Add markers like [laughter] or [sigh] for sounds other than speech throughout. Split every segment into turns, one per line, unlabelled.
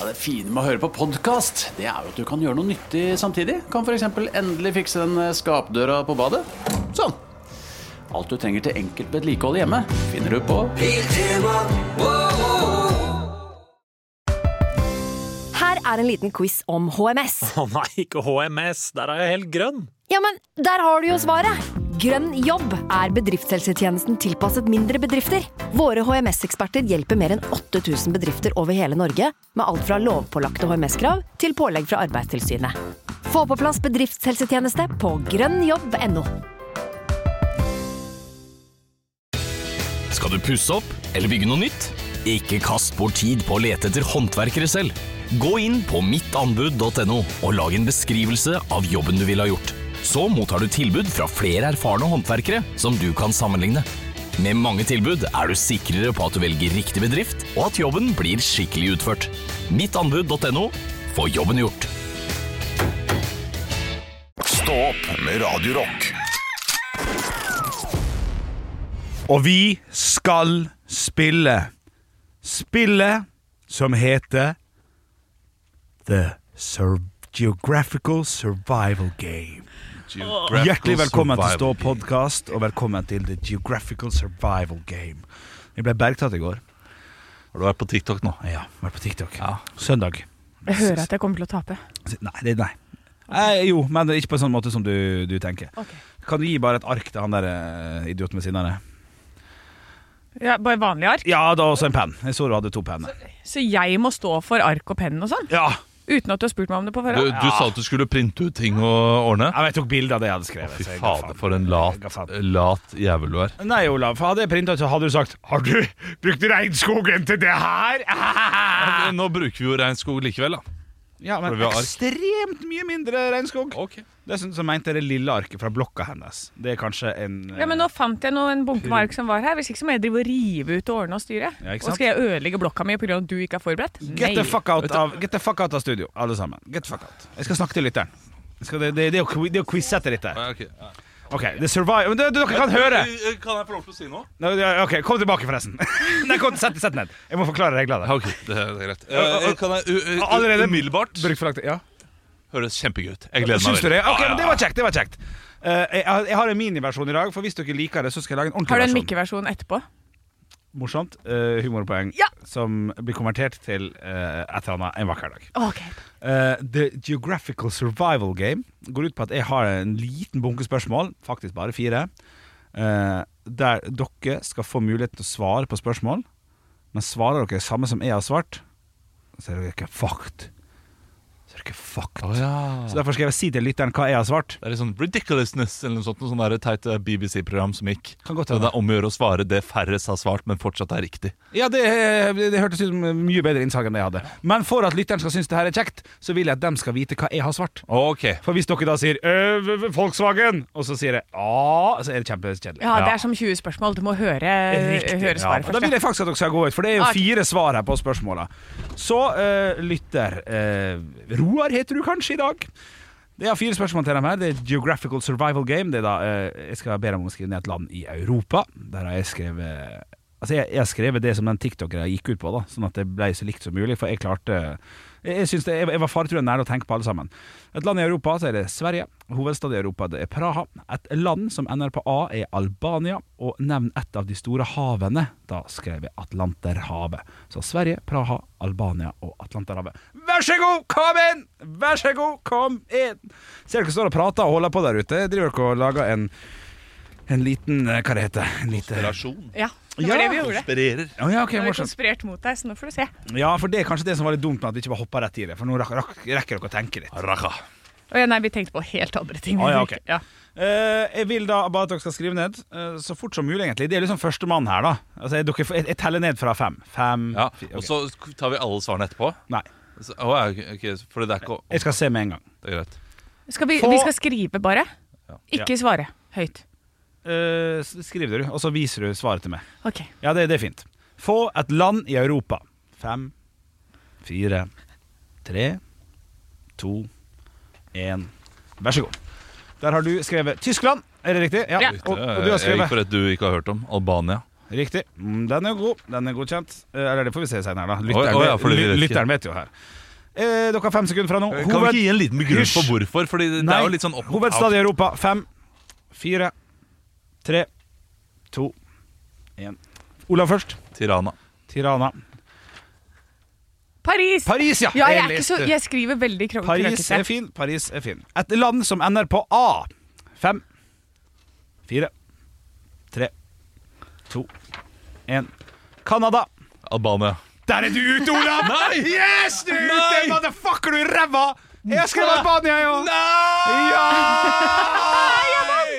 Ja, det fine med å høre på podkast, det er jo at du kan gjøre noe nyttig samtidig. Kan f.eks. endelig fikse den eh, skapdøra på badet. Sånn. Alt du trenger til enkelt vedlikehold hjemme, finner du på
Her er en liten quiz om HMS.
[laughs] Å nei, ikke HMS. Der er jeg helt grønn.
Ja, men der har du jo svaret! Grønn jobb er bedriftshelsetjenesten tilpasset mindre bedrifter. Våre HMS-eksperter hjelper mer enn 8000 bedrifter over hele Norge med alt fra lovpålagte HMS-krav til pålegg fra Arbeidstilsynet. Få på plass bedriftshelsetjeneste på grønnjobb.no.
Skal du pusse opp eller bygge noe nytt? Ikke kast bort tid på å lete etter håndverkere selv. Gå inn på mittanbud.no og lag en beskrivelse av jobben du ville ha gjort. Så mottar du tilbud fra flere erfarne håndverkere som du kan sammenligne. Med mange tilbud er du sikrere på at du velger riktig bedrift, og at jobben blir skikkelig utført. Mittanbud.no få jobben gjort.
Stå opp med Radio Rock.
Og vi skal spille Spillet som heter The Sur Geographical Survival Game. Hjertelig velkommen til Stå podkast, og velkommen til The Geographical Survival Game. Jeg ble bergtatt i går.
Har du vært på TikTok nå?
Ja, var på TikTok. Søndag.
Jeg hører at jeg kommer til å tape.
Nei, det, nei. Eh, jo, men ikke på en sånn måte som du, du tenker.
Ok.
Kan du gi bare et ark til han der eh, idioten ved siden av deg?
Ja, bare vanlig ark.
Ja, da også en penn. Jeg så du hadde to penner.
Så jeg må stå for ark og penn og sånn?
Ja,
Uten at du har spurt meg om det på
Du,
forhånd?
du sa at du skulle printe ut ting og ordne.
Ja, men Jeg tok bilde av det jeg hadde skrevet.
Fy
så jeg ga
fader,
faen.
for en
Jeg
lat,
ga faen.
lat jævel du er.
Nei, Olav, for hadde jeg printa ut, så hadde du sagt Har du brukt regnskogen til det her?
Men Nå bruker vi jo regnskog likevel, da.
Ja, men
For vi har ark.
ekstremt mye mindre regnskog. Det sånn som som mente jeg det lille arket fra blokka hennes. Det er kanskje en eh,
Ja, men Nå fant jeg nå en bunke med ark som var her. Hvis ikke så må jeg drive og rive ut og ordne og styre.
Ja, ikke
og skal jeg ødelegge blokka mi pga. at du ikke er forberedt?
Get the, fuck out av, get the fuck out av studio, alle sammen. Get the fuck out. Jeg skal snakke til lytteren. Jeg skal, det, det, det, er å qui- det er å quize etter dette. her. Ok, the survive Men det- det- Dere kan høre!
Eh, Kan jeg få lov til å si noe?
Nå, ja, Ok, Kom tilbake, forresten. [laughs] Nei, kom, sett, sett ned. Jeg må forklare reglene.
Ok, det er greit. Eh, Kan jeg u- u-
Allerede-
umiddelbart?
Bruk forlagt- ja
Høres kjempegøy ut. Jeg gleder meg
Syns du det?
veldig.
Ok,
Ja,
men det
ja,
var kjekt. det var kjekt Eh, jeg, har- jeg har en miniversjon i dag, for hvis dere liker det, så skal jeg lage en ordentlig
Har du en
versjon.
mikkeversjon etterpå?
Morsomt eh, humorpoeng
Ja.
som blir konvertert til eh, et eller annet en vakker dag.
Ok.
Eh, The Geographical Survival Game går ut på at jeg har en liten bunke spørsmål, faktisk bare fire, eh, der dere skal få mulighet til å svare på spørsmål. Men svarer dere samme som jeg har svart, så er dere ikke fucked. Så er dere ikke fucked.
ja. Å, ja.
Så derfor skal jeg si til lytteren hva jeg har svart.
Det er litt sånn ridiculousness eller noe sånt. Noe sånn der teit eh, BBC-program som gikk.
Kan godt
Det
hende.
er om å gjøre å svare det færrest har svart, men fortsatt er riktig.
Ja, det, eh, det hørtes ut som mye bedre innsalg enn det jeg hadde. Men for at lytteren skal synes det her er kjekt, så vil jeg at dem skal vite hva jeg har svart.
Ok.
For hvis dere da sier «Øh, v- v- Volkswagen, og så sier jeg ja, så er det kjempekjedelig.
Ja, det er som 20 spørsmål. Du må høre,
Riktig.
høre svaret
Ja, Da
først.
vil
ja. Ah,
jeg faktisk at dere skal gå ut, for det er jo
Ok.
fire svar her på spørsmåla. Så eh, lytter eh, Roar heter du kanskje i dag? Det er fire spørsmål til dem her. Det er Geographical Survival Game. Det er da, eh, jeg skal be dem om å skrive ned et land i Europa. Der har jeg skrevet Altså jeg, jeg har skrevet det som den tiktokeren jeg gikk ut på, da sånn at det ble så likt som mulig. For jeg klarte Jeg, jeg, synes det, jeg, jeg var faretruende nær å tenke på alle sammen. Et land i Europa så er det Sverige. Hovedstad i Europa det er Praha. Et land som ender på A, er Albania. Og nevn ett av de store havene. Da skrev jeg Atlanterhavet. Så Sverige, Praha, Albania og Atlanterhavet. Vær så god, kom inn! Vær så god, kom inn! Ser dere står og prater og holder på der ute. Driver dere og lager en en liten eh, Hva det heter en liten,
Relasjon.
ja, det var det vi gjorde.
Inspirerer.
Å ja, ok,
Nå har vi
morsomt.
konspirert mot deg, så nå får du se.
Ja, for det er kanskje det som var litt dumt med at vi ikke bare hoppa rett i det. For nå rak- rak- rekker dere å tenke litt.
Raka.
Å ja, nei, vi tenkte på helt andre ting.
Å ja, ok.
Ja.
Eh, jeg vil da bare at dere skal skrive ned eh, så fort som mulig, egentlig. Det er liksom førstemann her, da. Altså, jeg, dere, får- jeg, jeg teller ned fra fem. Fem
Ja,
fi- ok.
Og så tar vi alle svarene etterpå.
Nei.
Så, å, ja, ok, ok, fordi det er ikke
Jeg skal se med en gang.
Det er greit.
Skal vi,
Få-
vi skal skrive, bare.
Ja.
Ikke svare høyt.
Eh, s- skriv det, du, og så viser du svaret til meg.
Ok.
Ja, det, det er fint. Få et land i Europa. Fem, fire, tre, to, én. Vær så god. Der har du skrevet Tyskland, er det riktig?
Ja.
Og, og du har
Eh, Jeg gikk
skrevet
for et du ikke har hørt om. Albania.
Riktig. Mm, Den er god. Den er godkjent. Eh, Eller det får vi se senere, da. Lytteren,
Å, å, ja,
vet-
fordi vi vet ikke.
lytteren vet jo her. Eh, dere har fem sekunder fra nå.
Kan vi ikke gi en liten begrunnelse
Hysj!
på hvorfor? Fordi det, det
Nei.
er jo litt sånn opp mot
Hovedstad i Europa. Fem, fire, tre, to, én. Olav først.
out. Tirana.
Tirana.
Paris!
Paris, ja!
Ja, jeg, er
Jeg
ikke så,
leste.
jeg skriver veldig krø-
Paris er
krøkete.
fin. Paris er fin. Et land som ender på A. Fem, fire, tre, to, én. Canada.
Albania.
Der er du ute, Olav! Nei! Yes, du er ute,
Nei!
motherfucker, du ræva! Jeg skrev Albania, jo! Ja!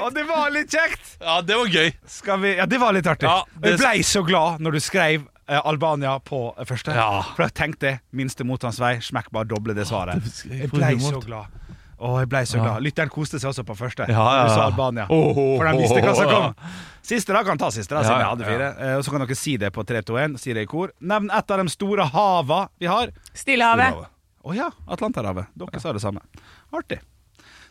Og det var litt kjekt.
Ja, det var gøy.
Skal vi, ja, det var litt artig.
Ja,
Jeg
det-
ble så glad når du skrev eh, Albania på eh, første.
Ja.
For jeg tenkte minste motstands vei, smekk bare doble det svaret.
det- jeg
Jeg
får
ble
humor.
så glad. Å, jeg ble så glad. Lytteren koste seg også på første.
Ja, ja,
Du sa
ja.
Albania.
Oh, oh,
For de visste hva som
oh, oh.
kom. Siste da kan ta siste, da, siden
Ja,
jeg hadde
ja.
fire. Eh, Og så kan dere si det på 3, 2, 1. Si det i kor. Nevn et av de store hava vi har.
Stillehavet.
Å ja, Atlanterhavet. Dere sa det samme. Artig.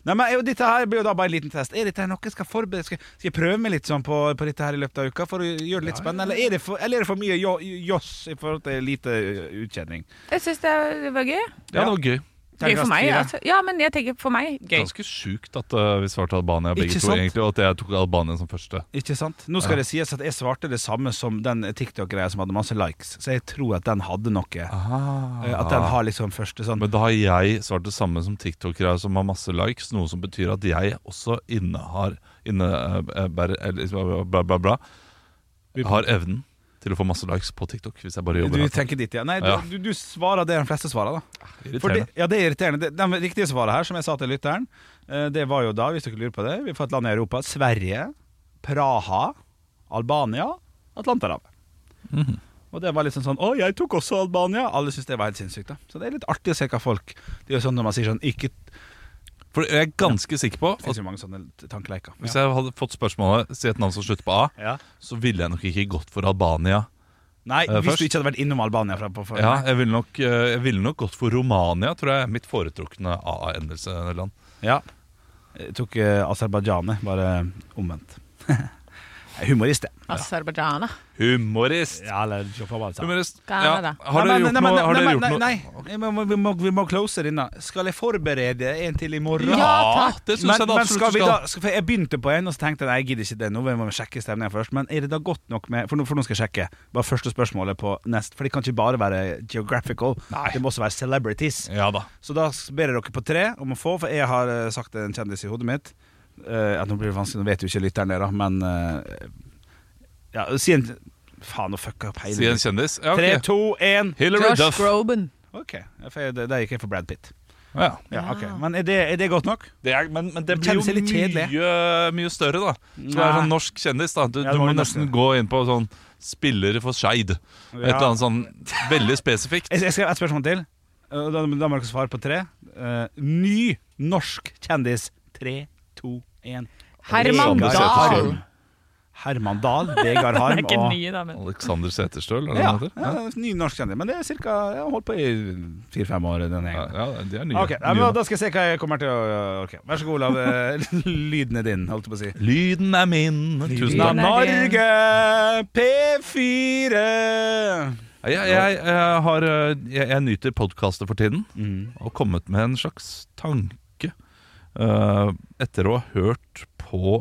Nei, men jo, Dette her blir jo da bare en liten test. Er dette her noe jeg skal forberede Skal, skal jeg prøve meg litt sånn på, på dette her i løpet av uka for å gjøre det litt spennende? Eller er det for, eller er det for mye jo- joss i forhold til lite uh, ø, utkjenning?
Jeg syns det var gøy.
Ja, det var gøy.
Gøy
Terningkast
for meg.
fire.
Altså. Ja, men jeg tenker for meg gøy.
Ganske sjukt at eh, vi svarte Albania begge
Ikke
to,
sant?
egentlig, og at jeg tok Albania som første.
Ikke sant? Nå skal det sies at jeg svarte det samme som den TikTok-greia som hadde masse likes, så jeg tror at den hadde noe. Eh, At den har liksom første sånn
Men da har jeg svart det samme som tiktokere som har masse likes, noe som betyr at jeg også innehar innebærer eller liksom bla, bla, bla, bla, har evnen til å få masse likes på TikTok hvis jeg bare
Du
jobber. hardt.
tenker ditt, ja. Nei, du,
Ja.
du, du svarer det de fleste svarer, da. For det,
Irriterende.
ja, det er irriterende. Det, det riktige svaret her, som jeg sa til lytteren, eh, det var jo da, hvis dere lurer på det, vi får et land i Europa. Sverige, Praha, Albania, Atlanterhavet.
Mhm.
Og det var litt sånn sånn Å, jeg tok også Albania! Alle syntes det var helt sinnssykt, da. Så det er litt artig å se hva folk Det er jo sånn når man sier sånn Ikke Det
For jeg er ganske sikker på
finnes
at
jo mange sånne tankeleiker.
hvis jeg hadde fått spørsmålet si et navn som slutter på A,
Ja.
så ville jeg nok ikke gått for Albania.
Nei,
Eh,
hvis
først-
du ikke hadde vært innom Albania fra på forhånd.
Ja, jeg ville nok, eh, jeg ville nok gått for Romania, tror jeg. er Mitt foretrukne A-endelseland.
Ja. Jeg tok eh, Aserbajdsjanet, bare omvendt. [laughs] Jeg er Humorist, jeg.
Aserbajdsjana.
Humorist!
Ja, eller Jofabadza.
Humorist.
Canada.
Har
Nei,
dere
men-
gjort
nei, men-
noe? Har
nei,
dere
men-
gjort noe?
Nei, nei. Jeg må- vi, må, vi må close det inne. Skal jeg forberede en til i morgen?
Ja, det syns
Men,
jeg da
men
absolutt
skal vi
du skal.
da, skal, for jeg begynte på en, og så tenkte jeg nei, jeg gidder ikke det nå. Vi må sjekke stemningen først. Men er det da godt nok med For nå, for nå skal jeg sjekke. Bare første spørsmålet på nest. For det kan ikke bare være geographical.
Nei.
Det må også være celebrities.
Ja da.
Så da ber jeg dere på tre om å få, for jeg har eh, sagt en kjendis i hodet mitt. Eh, ja, nå blir det vanskelig, nå vet jo ikke lytteren det, da, men eh, Ja, si en Faen, nå fucka jeg opp hele
Si en kjendis. Ja, ok.
Tre, to, én.
Hillary
Josh
Duff.
Groban.
Ok, for det, det gikk jeg for Brad Pitt.
Ja.
Ja, ok. Men er det, er det godt nok?
Det er, men, men det
Det
blir jo
kjennes litt kjedelig.
mye, mye større, da. Så det er
Nei.
sånn norsk kjendis, da. Du,
Ja, det
du
var
må
jo norsk,
nesten
ja.
gå inn på sånn spillere for Skeid. Et eller annet sånn veldig
[laughs]
spesifikt.
Jeg, jeg skrev et spørsmål til. og Da, da må dere svare på tre. Eh, ny norsk kjendis. Tre, to, én. sånn,
Herman
Alexander
Dahl.
Sæterstøl.
Herman Dahl, Vegard
Han [laughs]
Harm
er ikke
og
ny, da, men
Alexander Seterstøl, er det
ja,
han heter?
ja, ny norsk kjendis. Men det er cirka, jeg har holdt på i fire-fem år. denne
Ja,
gangen.
ja, de er nye.
Ok, nei, men
nye.
da- Da skal jeg se hva jeg kommer til å orke. Vær så god, Olav. Eh, [laughs] Lyden er din, holdt jeg på å si.
Lyden er min. Tusen
er
takk.
din.
Norge P4!
Jeg, jeg, jeg, har, eh, jeg, jeg nyter podkaster for tiden, og kommet med en slags tanke eh, etter å ha hørt på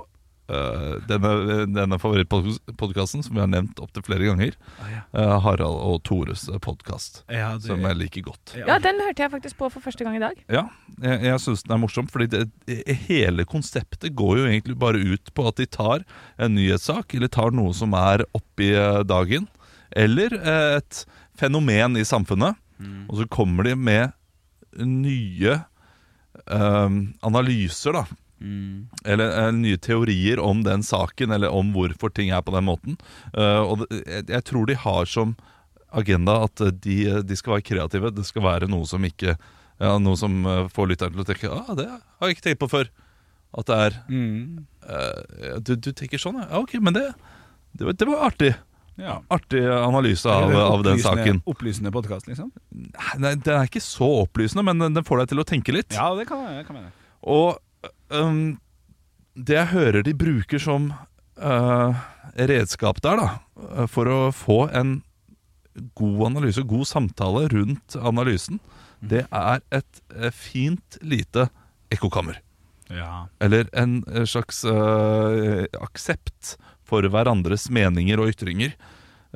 eh, denne, denne favorittpodkasten som vi har nevnt opptil flere ganger. eh, Harald og Tores podkast,
Ah, Ja, det-
som jeg liker godt.
Ja, den hørte jeg faktisk på for første gang i dag.
Ja, jeg, jeg syns den er morsom, fordi det, hele konseptet går jo egentlig bare ut på at de tar en nyhetssak, eller tar noe som er oppi eh, dagen, eller eh, et fenomen i samfunnet, og så kommer de med nye eh, analyser, da. Eller eh, nye teorier om den saken, eller om hvorfor ting er på den måten. Eh, og det, jeg, jeg tror de har som agenda at eh, de, de skal være kreative. Det skal være noe som ikke ja, Noe som eh, får lytteren til å tenke ah, det har jeg ikke tenkt på før. At det er
Mm.
eh, du, du tenker sånn, ja. ja. Ok, men det, det, var, det var artig.
Ja.
Artig analyse av, av den saken.
Opplysende podkast, liksom?
Nei, den er ikke så opplysende, men den- den får deg til å tenke litt.
Ja, det kan jeg, det kan jeg mene.
Og øhm, det jeg hører de bruker som eh, redskap der, da, eh, for å få en god analyse, god samtale rundt analysen,
Mm.
det er et eh, fint lite ekkokammer.
Ja.
Eller en eh, slags eh, aksept for hverandres meninger og ytringer.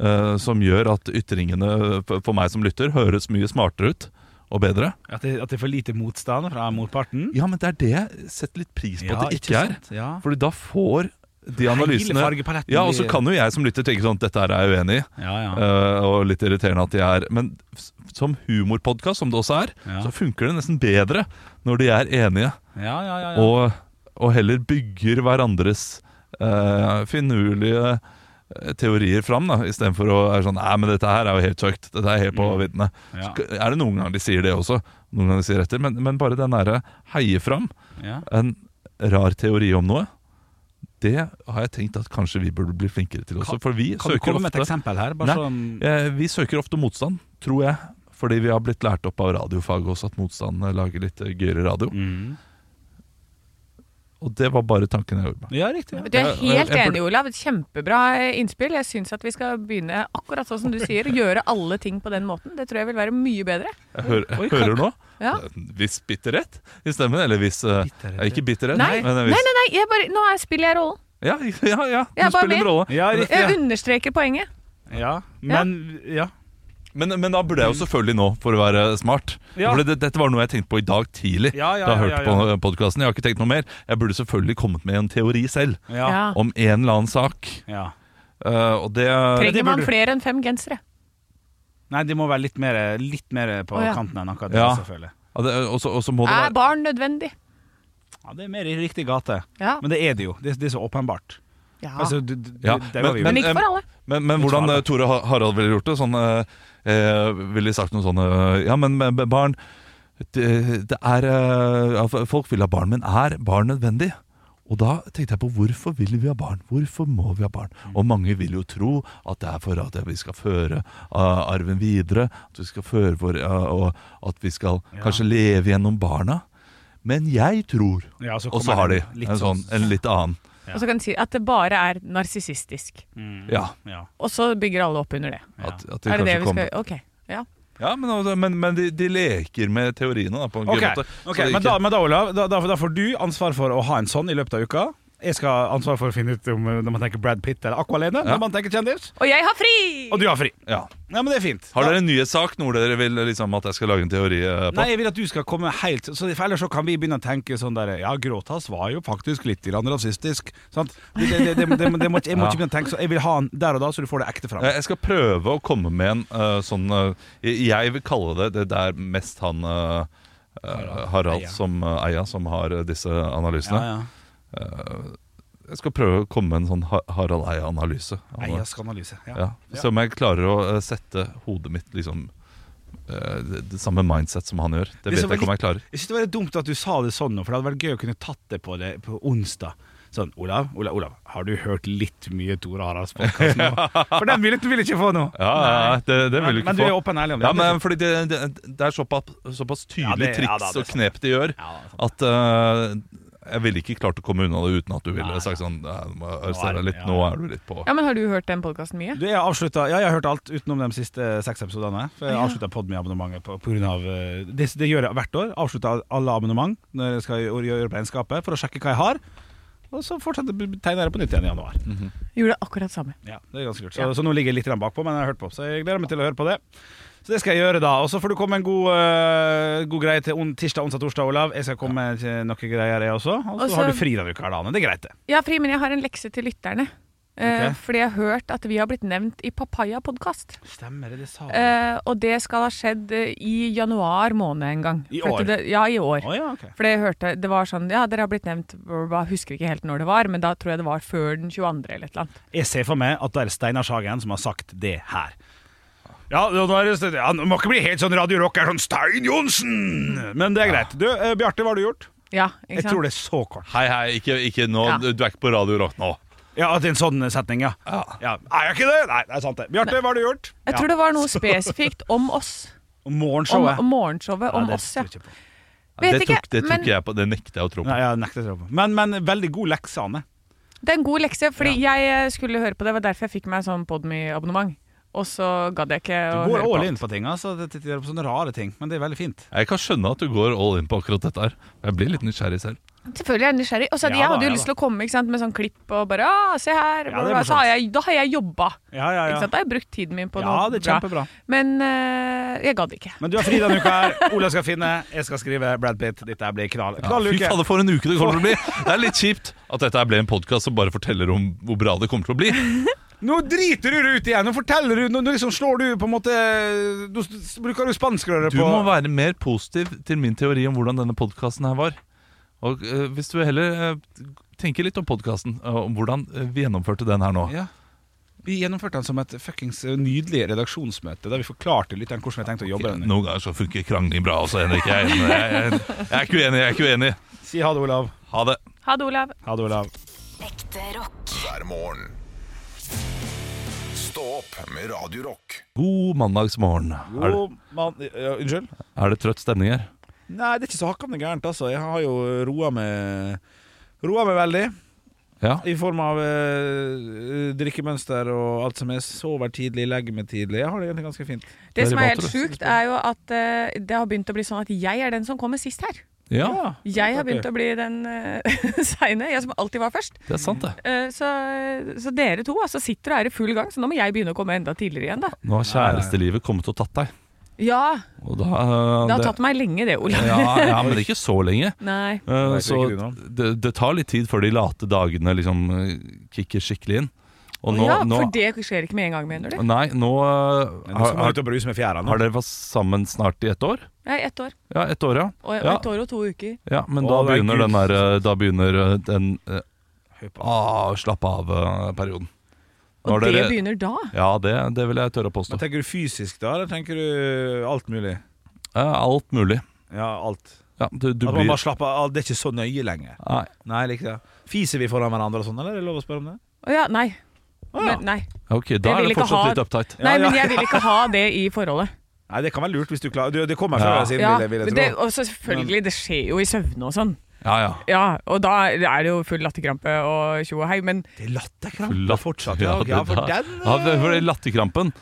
eh, som gjør at ytringene øh, for for meg som lytter høres mye smartere ut og bedre.
At, det, at det er for lite motstand fra motparten?
Ja, men det er det jeg setter litt pris på at det ikke, er.
sant? Ja.
Fordi da får de
Hele
analysene
fargepaletten
Ja, og så
blir-
kan jo jeg som lytter tenke sånn Dette her er jeg uenig i,
Ja, ja.
eh, og litt irriterende at de er Men s- som humorpodkast, som det også er,
Ja.
så funker det nesten bedre når de er enige,
ja, ja, ja, ja.
og, og heller bygger hverandres eh, finurlige eh, teorier fram, da istedenfor å være sånn Nei, men dette her er jo helt tøkt. Dette er helt på viddene.
Mm. Ja.
Så Er det noen ganger de sier det også? Noen ganger de sier etter, men, men bare den derre heie fram
ja.
en rar teori om noe, det har jeg tenkt at kanskje vi burde bli flinkere til også. For vi
Kan du
søker
komme med et
ofte,
eksempel her? Bare
Nei.
sånn
eh, vi søker ofte motstand, tror jeg. Fordi vi har blitt lært opp av radiofaget også at motstanden lager litt eh, gøyere radio.
Mm.
Og det var bare tanken jeg gjorde meg.
Ja, riktig.
Du er
Jeg- jeg-
helt
jeg burde-
enig, Olav. Et Kjempebra innspill. Jeg syns at vi skal begynne akkurat sånn som du sier, å gjøre alle ting på den måten. Det tror jeg vil være mye bedre.
Jeg, hører-
Oi,
jeg hører nå
Ja.
hvis bitterhet i stemmen, eller hvis eh,
Bitterhet,
eh, Ikke bitterhet,
Nei.
men hvis
Nei, nei, nei, jeg bare, nå er- spiller jeg rollen.
Ja, [laughs] ja, ja du
Jeg er bare
spiller en
med.
rolle.
Ja, riktig.
Jeg
Ja.
understreker poenget.
Ja. Men ja.
Men, men da burde jeg jo selvfølgelig nå, for å være smart
Mm. Ja.
For det, Dette var noe jeg tenkte på i dag tidlig
Ja, ja,
Da jeg
ja,
hørte
ja, ja.
på podcasten Jeg har ikke tenkt noe mer Jeg burde selvfølgelig kommet med en teori selv
Ja.
Ah.
ja.
Om en eller annen sak Eh, Og det
Trenger
det
man
burde du-
flere enn fem gensere?
Nei, de må være litt mer, litt mer på
Å, ja.
kanten enn akkurat det,
Ja.
selvfølgelig.
ja, det- og så- og så må det
Er
være
barn nødvendig?
Ja, det er mer i riktig gate.
Ja.
Men det er det jo. Det, det er så åpenbart.
ja.
Altså, du, du,
Ja,
det var vi jo.
Men
men,
ikke
em,
for alle.
Men, men hvordan eh, Tore Ha- Harald ville gjort det sånn, eh, eh, Ville sagt noe sånn eh, Ja, men men- men barn det, det er eh, ja, Folk vil ha barn, men er barn nødvendig? Og da tenkte jeg på hvorfor vil vi ha barn? Hvorfor må vi ha barn?
Mm.
Og mange vil jo tro at det er for at vi skal føre eh, arven videre. At vi skal føre vår, eh, og at vi skal kanskje leve gjennom barna. Men jeg tror
Ja, så
Og så
kommer
har de
det litt
en, sånn, en litt annen.
Og så kan de si at det bare er narsissistisk.
Ja,
Ja.
Og så bygger alle opp under det.
at, at de
Mm. Er det det
kanskje
vi
kommer
skal Ok. Ja.
Ja, men, altså- men, men de, de leker med teoriene da, på en
Ok,
gøy måte. Så
ok,
det
men,
ikke-
da, men da, Olav, da, da, da får du ansvar for å ha en sånn i løpet av uka. Jeg skal ha ansvar for å finne ut om eh, når man tenker Brad Pitt eller Aqualene. Når
Ja.
man tenker kjendis.
Og jeg har fri!
Og du har fri.
ja.
Ja, men det er fint.
Har dere en nyhetssak noe dere vil liksom, at jeg skal lage en teori eh, på?
Nei, jeg vil at du skal komme helt så, For ellers så kan vi begynne å tenke sånn der Ja, Gråtass var jo faktisk litt grann rasistisk. Sant? Det, det, det, det, det, det må, ikke- jeg må ikke begynne å tenke så Jeg vil ha den der og da, så du får det ekte fram.
Eh, Jeg skal prøve å komme med en eh, sånn eh, jeg- Jeg vil kalle det det der mest han eh, eh, Harald
Eia.
som eh, eier, som har eh, disse analysene.
Ja, ja.
Jeg skal prøve å komme med en sånn Ha- Harald Eia-analyse. eh,
Eias analyse. Ja.
Ja. Se om jeg klarer å eh, sette hodet mitt liksom eh, det, det samme mindset som han gjør.
Det
Det vet
som
jeg
var
ikke om jeg klarer.
Jeg synes det var litt dumt at du sa det sånn nå, for det hadde vært gøy å kunne tatt det på det på onsdag. Sånn, Olav, Olav, Olav, har du hørt litt mye Tore Haralds podkast [laughs] nå? For den vil du vil ikke få nå.
Ja, ja, ja, det, det vil
Men,
du ikke
men du
få.
er åpen og ærlig om det.
Ja, men fordi det, det, det er såpass, såpass tydelig
Ja, det- ja,
triks
da, det er
og knep de gjør,
Ja, det er
at eh, jeg ville ikke klart å komme unna det uten at du ville
Nei,
sagt sånn «Nei, Nå må jeg
er
arrestere
det-
deg litt,
ja,
nå
ja.
er du litt på
Ja, men har du hørt den podkasten mye?
Du, jeg har avslutta Ja, jeg har hørt alt utenom de siste seks episodene. For jeg avslutta Podme-abonnementet på, på grunn av eh, det, det gjør jeg hvert år. Avslutta alle abonnement når jeg skal gjøre gjøre opp regnskapet, for å sjekke hva jeg har. Og så fortsatte tegner jeg på nytt igjen i januar.
Gjorde akkurat samme.
Ja, det er ganske kult. Så, så nå ligger jeg litt grann bakpå, men jeg har hørt på. Så jeg gleder meg til å høre på det. Så det skal jeg gjøre da. Og så får du komme med en god, eh, god greie til on tirsdag, onsdag, torsdag, Olav. Jeg skal komme med eh, noen greier, jeg også. Og så
Og så-
har du fri denne uka, her, da. Anne. Det er greit, det.
Jeg har fri, men jeg har en lekse til lytterne. Eh, Fordi jeg har hørt at vi har blitt nevnt i Papaya-podkast.
Stemmer det, det sa
Eh, og det skal ha skjedd eh, i januar måned en gang.
I
For at
år?
Det, ja, i år.
Å ja, ok.
For det jeg hørte, det var sånn Ja, dere har blitt nevnt Jeg husker ikke helt når det var, men da tror jeg det var før den 22. eller et eller annet.
Jeg ser for meg at det er Steinar Sagen som har sagt det her. Ja, nå er det, ja, nå må ikke bli helt sånn Radio Rock er sånn Stein Johnsen! Men det er greit. Du, eh, Bjarte, hva har du gjort?
Ja, ikke
Jeg
sant?
tror det er så kort.
Hei, hei, ikke, ikke nå,
Ja.
du du er ikke på Radio Rock nå.
Ja, at det er en sånn setning, ja. ja. Er jeg ikke det? Nei, det er sant, det. Bjarte, hva har du gjort?
Jeg tror det var
[laughs]
noe spesifikt om oss.
Om
Om,
morgenshowet.
om morgenshowet. Om
det
oss, ja.
tror jeg ikke på.
Vet
det
ikke,
tok, det, tok
men-
jeg på, det nekter jeg å tro på.
Nei, jeg nekter å tro på. Men, men veldig god lekse, Anne.
Det er en god lekse, fordi jeg skulle høre på det. Det var derfor jeg fikk meg sånn Podme-abonnement. Og så gadd jeg ikke
Du
å
går
høre på.
all in på ting, altså. Det, det, det er sånne rare ting, men det er veldig fint.
Jeg kan skjønne at du går all in på akkurat dette her. Jeg blir litt nysgjerrig selv.
Selvfølgelig er jeg nysgjerrig. Og så hadde
Ja
jeg
da,
hadde jo
ja
lyst
da.
til å komme ikke sant, med sånn klipp og bare «Ah, se her.
Ja, det er
så har
morsomt.
jeg, da har jeg jobba.
Ja, ja,
Ikke sant? Da har jeg brukt tiden min på
Ja,
noe
det er kjempebra.
Men eh, jeg gadd ikke.
Men du har fri denne uka her. Ola skal finne, jeg skal skrive Brad Pitt. Dette blir knall.
Ja, fy
Knalluke.
fader, for en uke det
[laughs]
kommer til å bli! Det er litt kjipt at dette her ble en podkast som bare forteller om hvor bra det kommer til å bli.
Nå driter du det ut igjen! Nå forteller du, nå, nå liksom slår du på en måte Nå s- s- bruker du spanskrøret
Du
på
må være mer positiv til min teori om hvordan denne podkasten her var. Og eh, hvis du heller eh, tenker litt om podkasten, om hvordan eh, vi gjennomførte den her nå.
Ja. Vi gjennomførte den som et fuckings eh, nydelig redaksjonsmøte, der vi forklarte lytteren hvordan vi tenkte å jobbe.
Noen ganger så funker krangling bra også, Henrik. Jeg, er enig. jeg, jeg, jeg er ikke uenig, jeg er ikke uenig.
Si ha det, Olav.
Ha det.
Ha det, Olav.
Ha det, Olav.
hver morgen. Stå opp med Radio Rock.
God mandagsmorgen. Er,
God mann... ja, Unnskyld?
det- er det trøtt stemning her?
Nei, det er ikke så hakkande gærent, altså. Jeg har jo roa meg Roa meg veldig,
Ja.
i form av eh, drikkemønster og alt som er. Sover tidlig, legger meg tidlig. Jeg har det egentlig ganske fint.
Det
Veldig
som er helt
bra,
sjukt, er jo at eh, det har begynt å bli sånn at jeg er den som kommer sist her.
ja,
Jeg har begynt å bli den [laughs] uh, seine. Jeg som alltid var først.
det er sant, det.
Eh, så, så dere to altså, sitter og er i full gang, så nå må jeg begynne å komme enda tidligere igjen, da.
Nå har kjærestelivet kommet og tatt deg.
Ja,
Og da, eh,
det har tatt meg lenge, det, Olav.
ja, ja, men det er ikke så lenge.
Nei.
Eh,
vet
Så
ikke du nå.
det, det tar litt tid før de late dagene liksom eh, kicker skikkelig inn. Og nå,
ja,
nå,
for det skjer ikke med en gang, mener du?
nei,
[laughs]
nå
Nå
eh, har,
skal man
har,
ut og bruse med fjæra nå.
har dere vært sammen snart i ett år?
Ja, i ett år.
Ja, ett år, ja.
Og, og
Ja.
et år og to uker.
ja men
Å,
da
det er
begynner,
Gud.
den der, eh, da begynner eh, den eh,
Høy på.
ah, slapp av-perioden.
Og det begynner da.
Ja, det, det vil jeg tørre å påstå.
Men tenker du fysisk da, eller tenker du alt mulig?
Eh, alt mulig.
Ja, alt.
Ja, du, du
At man
blir
bare slapper av, det er ikke så nøye lenger.
Nei.
Nei, jeg liker det. Fiser vi foran hverandre og sånn, eller? Er det lov å spørre om det?
Å ja, nei.
Å, ja.
Men, nei.
Ok, da
vil
er det
ikke
fortsatt
ha-
litt uptight.
nei,
ja.
men jeg vil ikke ha det i forholdet.
Nei, det kan være lurt hvis du klarer du, Det kommer
Ja.
før eller siden,
Ja,
vil jeg, vil jeg
men
tro.
det, og så selvfølgelig, det skjer jo i søvne og sånn.
Ja, ja.
Ja, og da er det jo full latterkrampe og tjo og hei, men
Det er
Latt-
latterkrampe fortsatt. Ja,
Ja,
ok, ja,
det
for
der-
den
Ja, for- for latterkrampen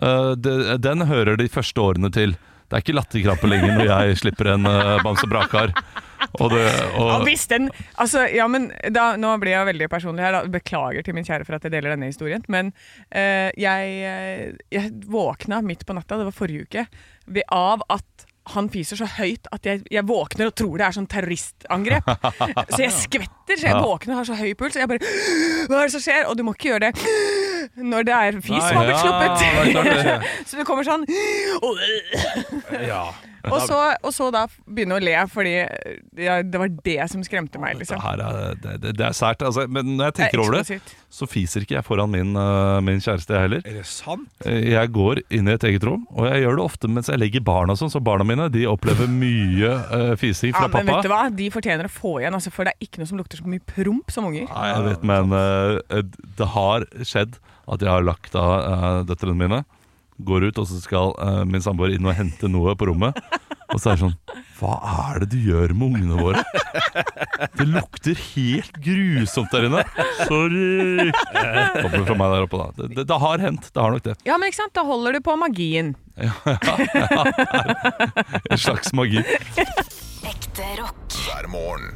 eh, det- Den hører de første årene til Det er ikke latterkrampe lenger når jeg slipper en uh, bamse brakar Og det
Ja,
og,
hvis den Altså, ja, men da, Nå blir jeg veldig personlig her. Da. Beklager til min kjære for at jeg deler denne historien. Men eh, jeg, eh, jeg våkna midt på natta, det var forrige uke, ved, av at han fiser så høyt at jeg, jeg våkner og tror det er sånn
[laughs]
terroristangrep. Så jeg skvetter, så jeg våkner og har så høy puls. Og jeg bare Hva er det som skjer? Og du må ikke gjøre det [sniffs] når det er fis som har blitt
Nei, ja, det er klart
sluppet. [laughs] Så det kommer sånn [sniffs]
Ja.
og så, og så da begynne å le, fordi ja, det var det som skremte meg,
det,
liksom.
her er, det, det, det er sært altså, Men når jeg tenker over det
Eksplosivt.
Så fiser ikke jeg foran min, eh, min kjæreste jeg heller
Er det sant?
Eh, Jeg går inn i et eget rom Og jeg gjør det ofte mens jeg legger barna og sånn Så barna mine de opplever mye eh, fising
Ja,
fra
men vet du
pappa
hva? De fortjener å få igjen, altså, for det er ikke noe som lukter så mye promp som unger.
Nei, jeg vet, men eh, det har skjedd at jeg har lagt av eh, døtrene mine. Går ut, og så skal eh, min samboer inn og hente noe på rommet. Og så er det sånn Hva er det du gjør med ungene våre? Det lukter helt grusomt der inne. Sorry. Kommer fra meg der oppe, da. Det, det, det har hendt. Det har nok det.
Ja, men ikke sant? Da holder du på magien.
En slags magi.
hver morgen.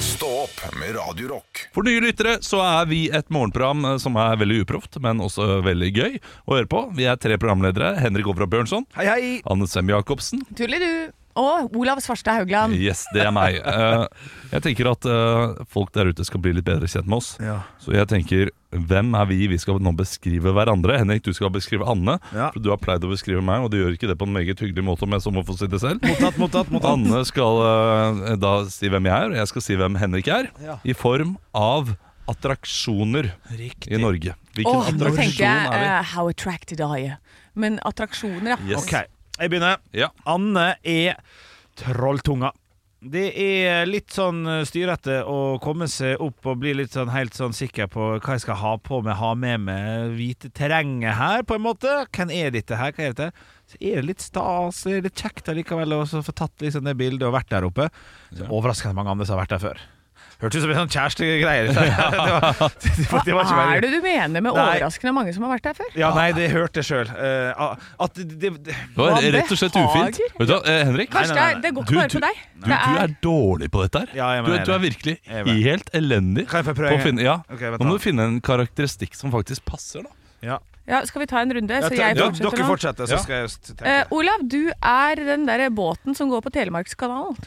Stå opp med Radio Rock.
For nye lyttere så er vi et morgenprogram eh, som er veldig uproft, men også veldig gøy å høre på. Vi er tre programledere. Henrik Overhaug Bjørnson.
Hei, hei!
Anne Sem Jacobsen.
Tulli du! Og Olav Svarstad Haugland.
Yes, det er meg. Eh, jeg tenker at eh, folk der ute skal bli litt bedre kjent med oss.
Ja.
Så jeg tenker, hvem er vi? Vi skal nå beskrive hverandre. Henrik, du skal beskrive Anne.
Ja.
For du har pleid å beskrive meg, og du gjør ikke det på en meget hyggelig måte, om jeg så må få si det selv.
Mottatt, mottatt, mottatt.
Anne skal eh, da si hvem jeg er, og jeg skal si hvem Henrik er.
Ja.
I form av attraksjoner
Riktig.
i Norge. Hvilken
Åh, nå tenker
attraksjon
jeg
er vi?
eh, How attracted are you? Men attraksjoner, ja.
Yes.
OK, jeg begynner.
eh,
Ja.
Anne er trolltunga. Det er litt sånn styrete å komme seg opp og bli litt sånn helt sånn sikker på hva jeg skal ha på meg, ha med meg hvite terrenget her, på en måte. Hvem er dette her? Hva er dette? Så er det litt stas, det er litt kjekt allikevel å så få tatt liksom det bildet og vært der oppe. Så Overraskende mange andre som har vært der før. Hørtes ut som en sånn kjærestegreier. [laughs] Det, var- det, var- det var ikke
Hva
veldig-
er det du mener med
Nei.
overraskende mange som har vært der før?
Ja, nei, det hørte jeg sjøl. at det, det
Det var
Hva
rett og slett ufint.
behager?
Vet du hva, eh, Henrik?
Kanskje
nei, nei, nei.
det er- det går
Du-
ikke bare
du-
på deg.
Du, du er dårlig på dette her.
Ja, jeg
du,
mener
du er
det.
virkelig
Jeg mener det.
helt elendig.
Kan jeg få prøve
på å
en gang?
finne, ja.
Ok, vent
Nå
da.
må du finne en karakteristikk som faktisk
[laughs]
passer. da
ja.
Ja, skal vi ta en runde,
Ja,
så jeg
ja,
fortsetter
Dere
nå?
fortsetter, så
Ja.
skal jeg st- tenke.
Eh, Olav, du er den der båten som går på Telemarkskanalen.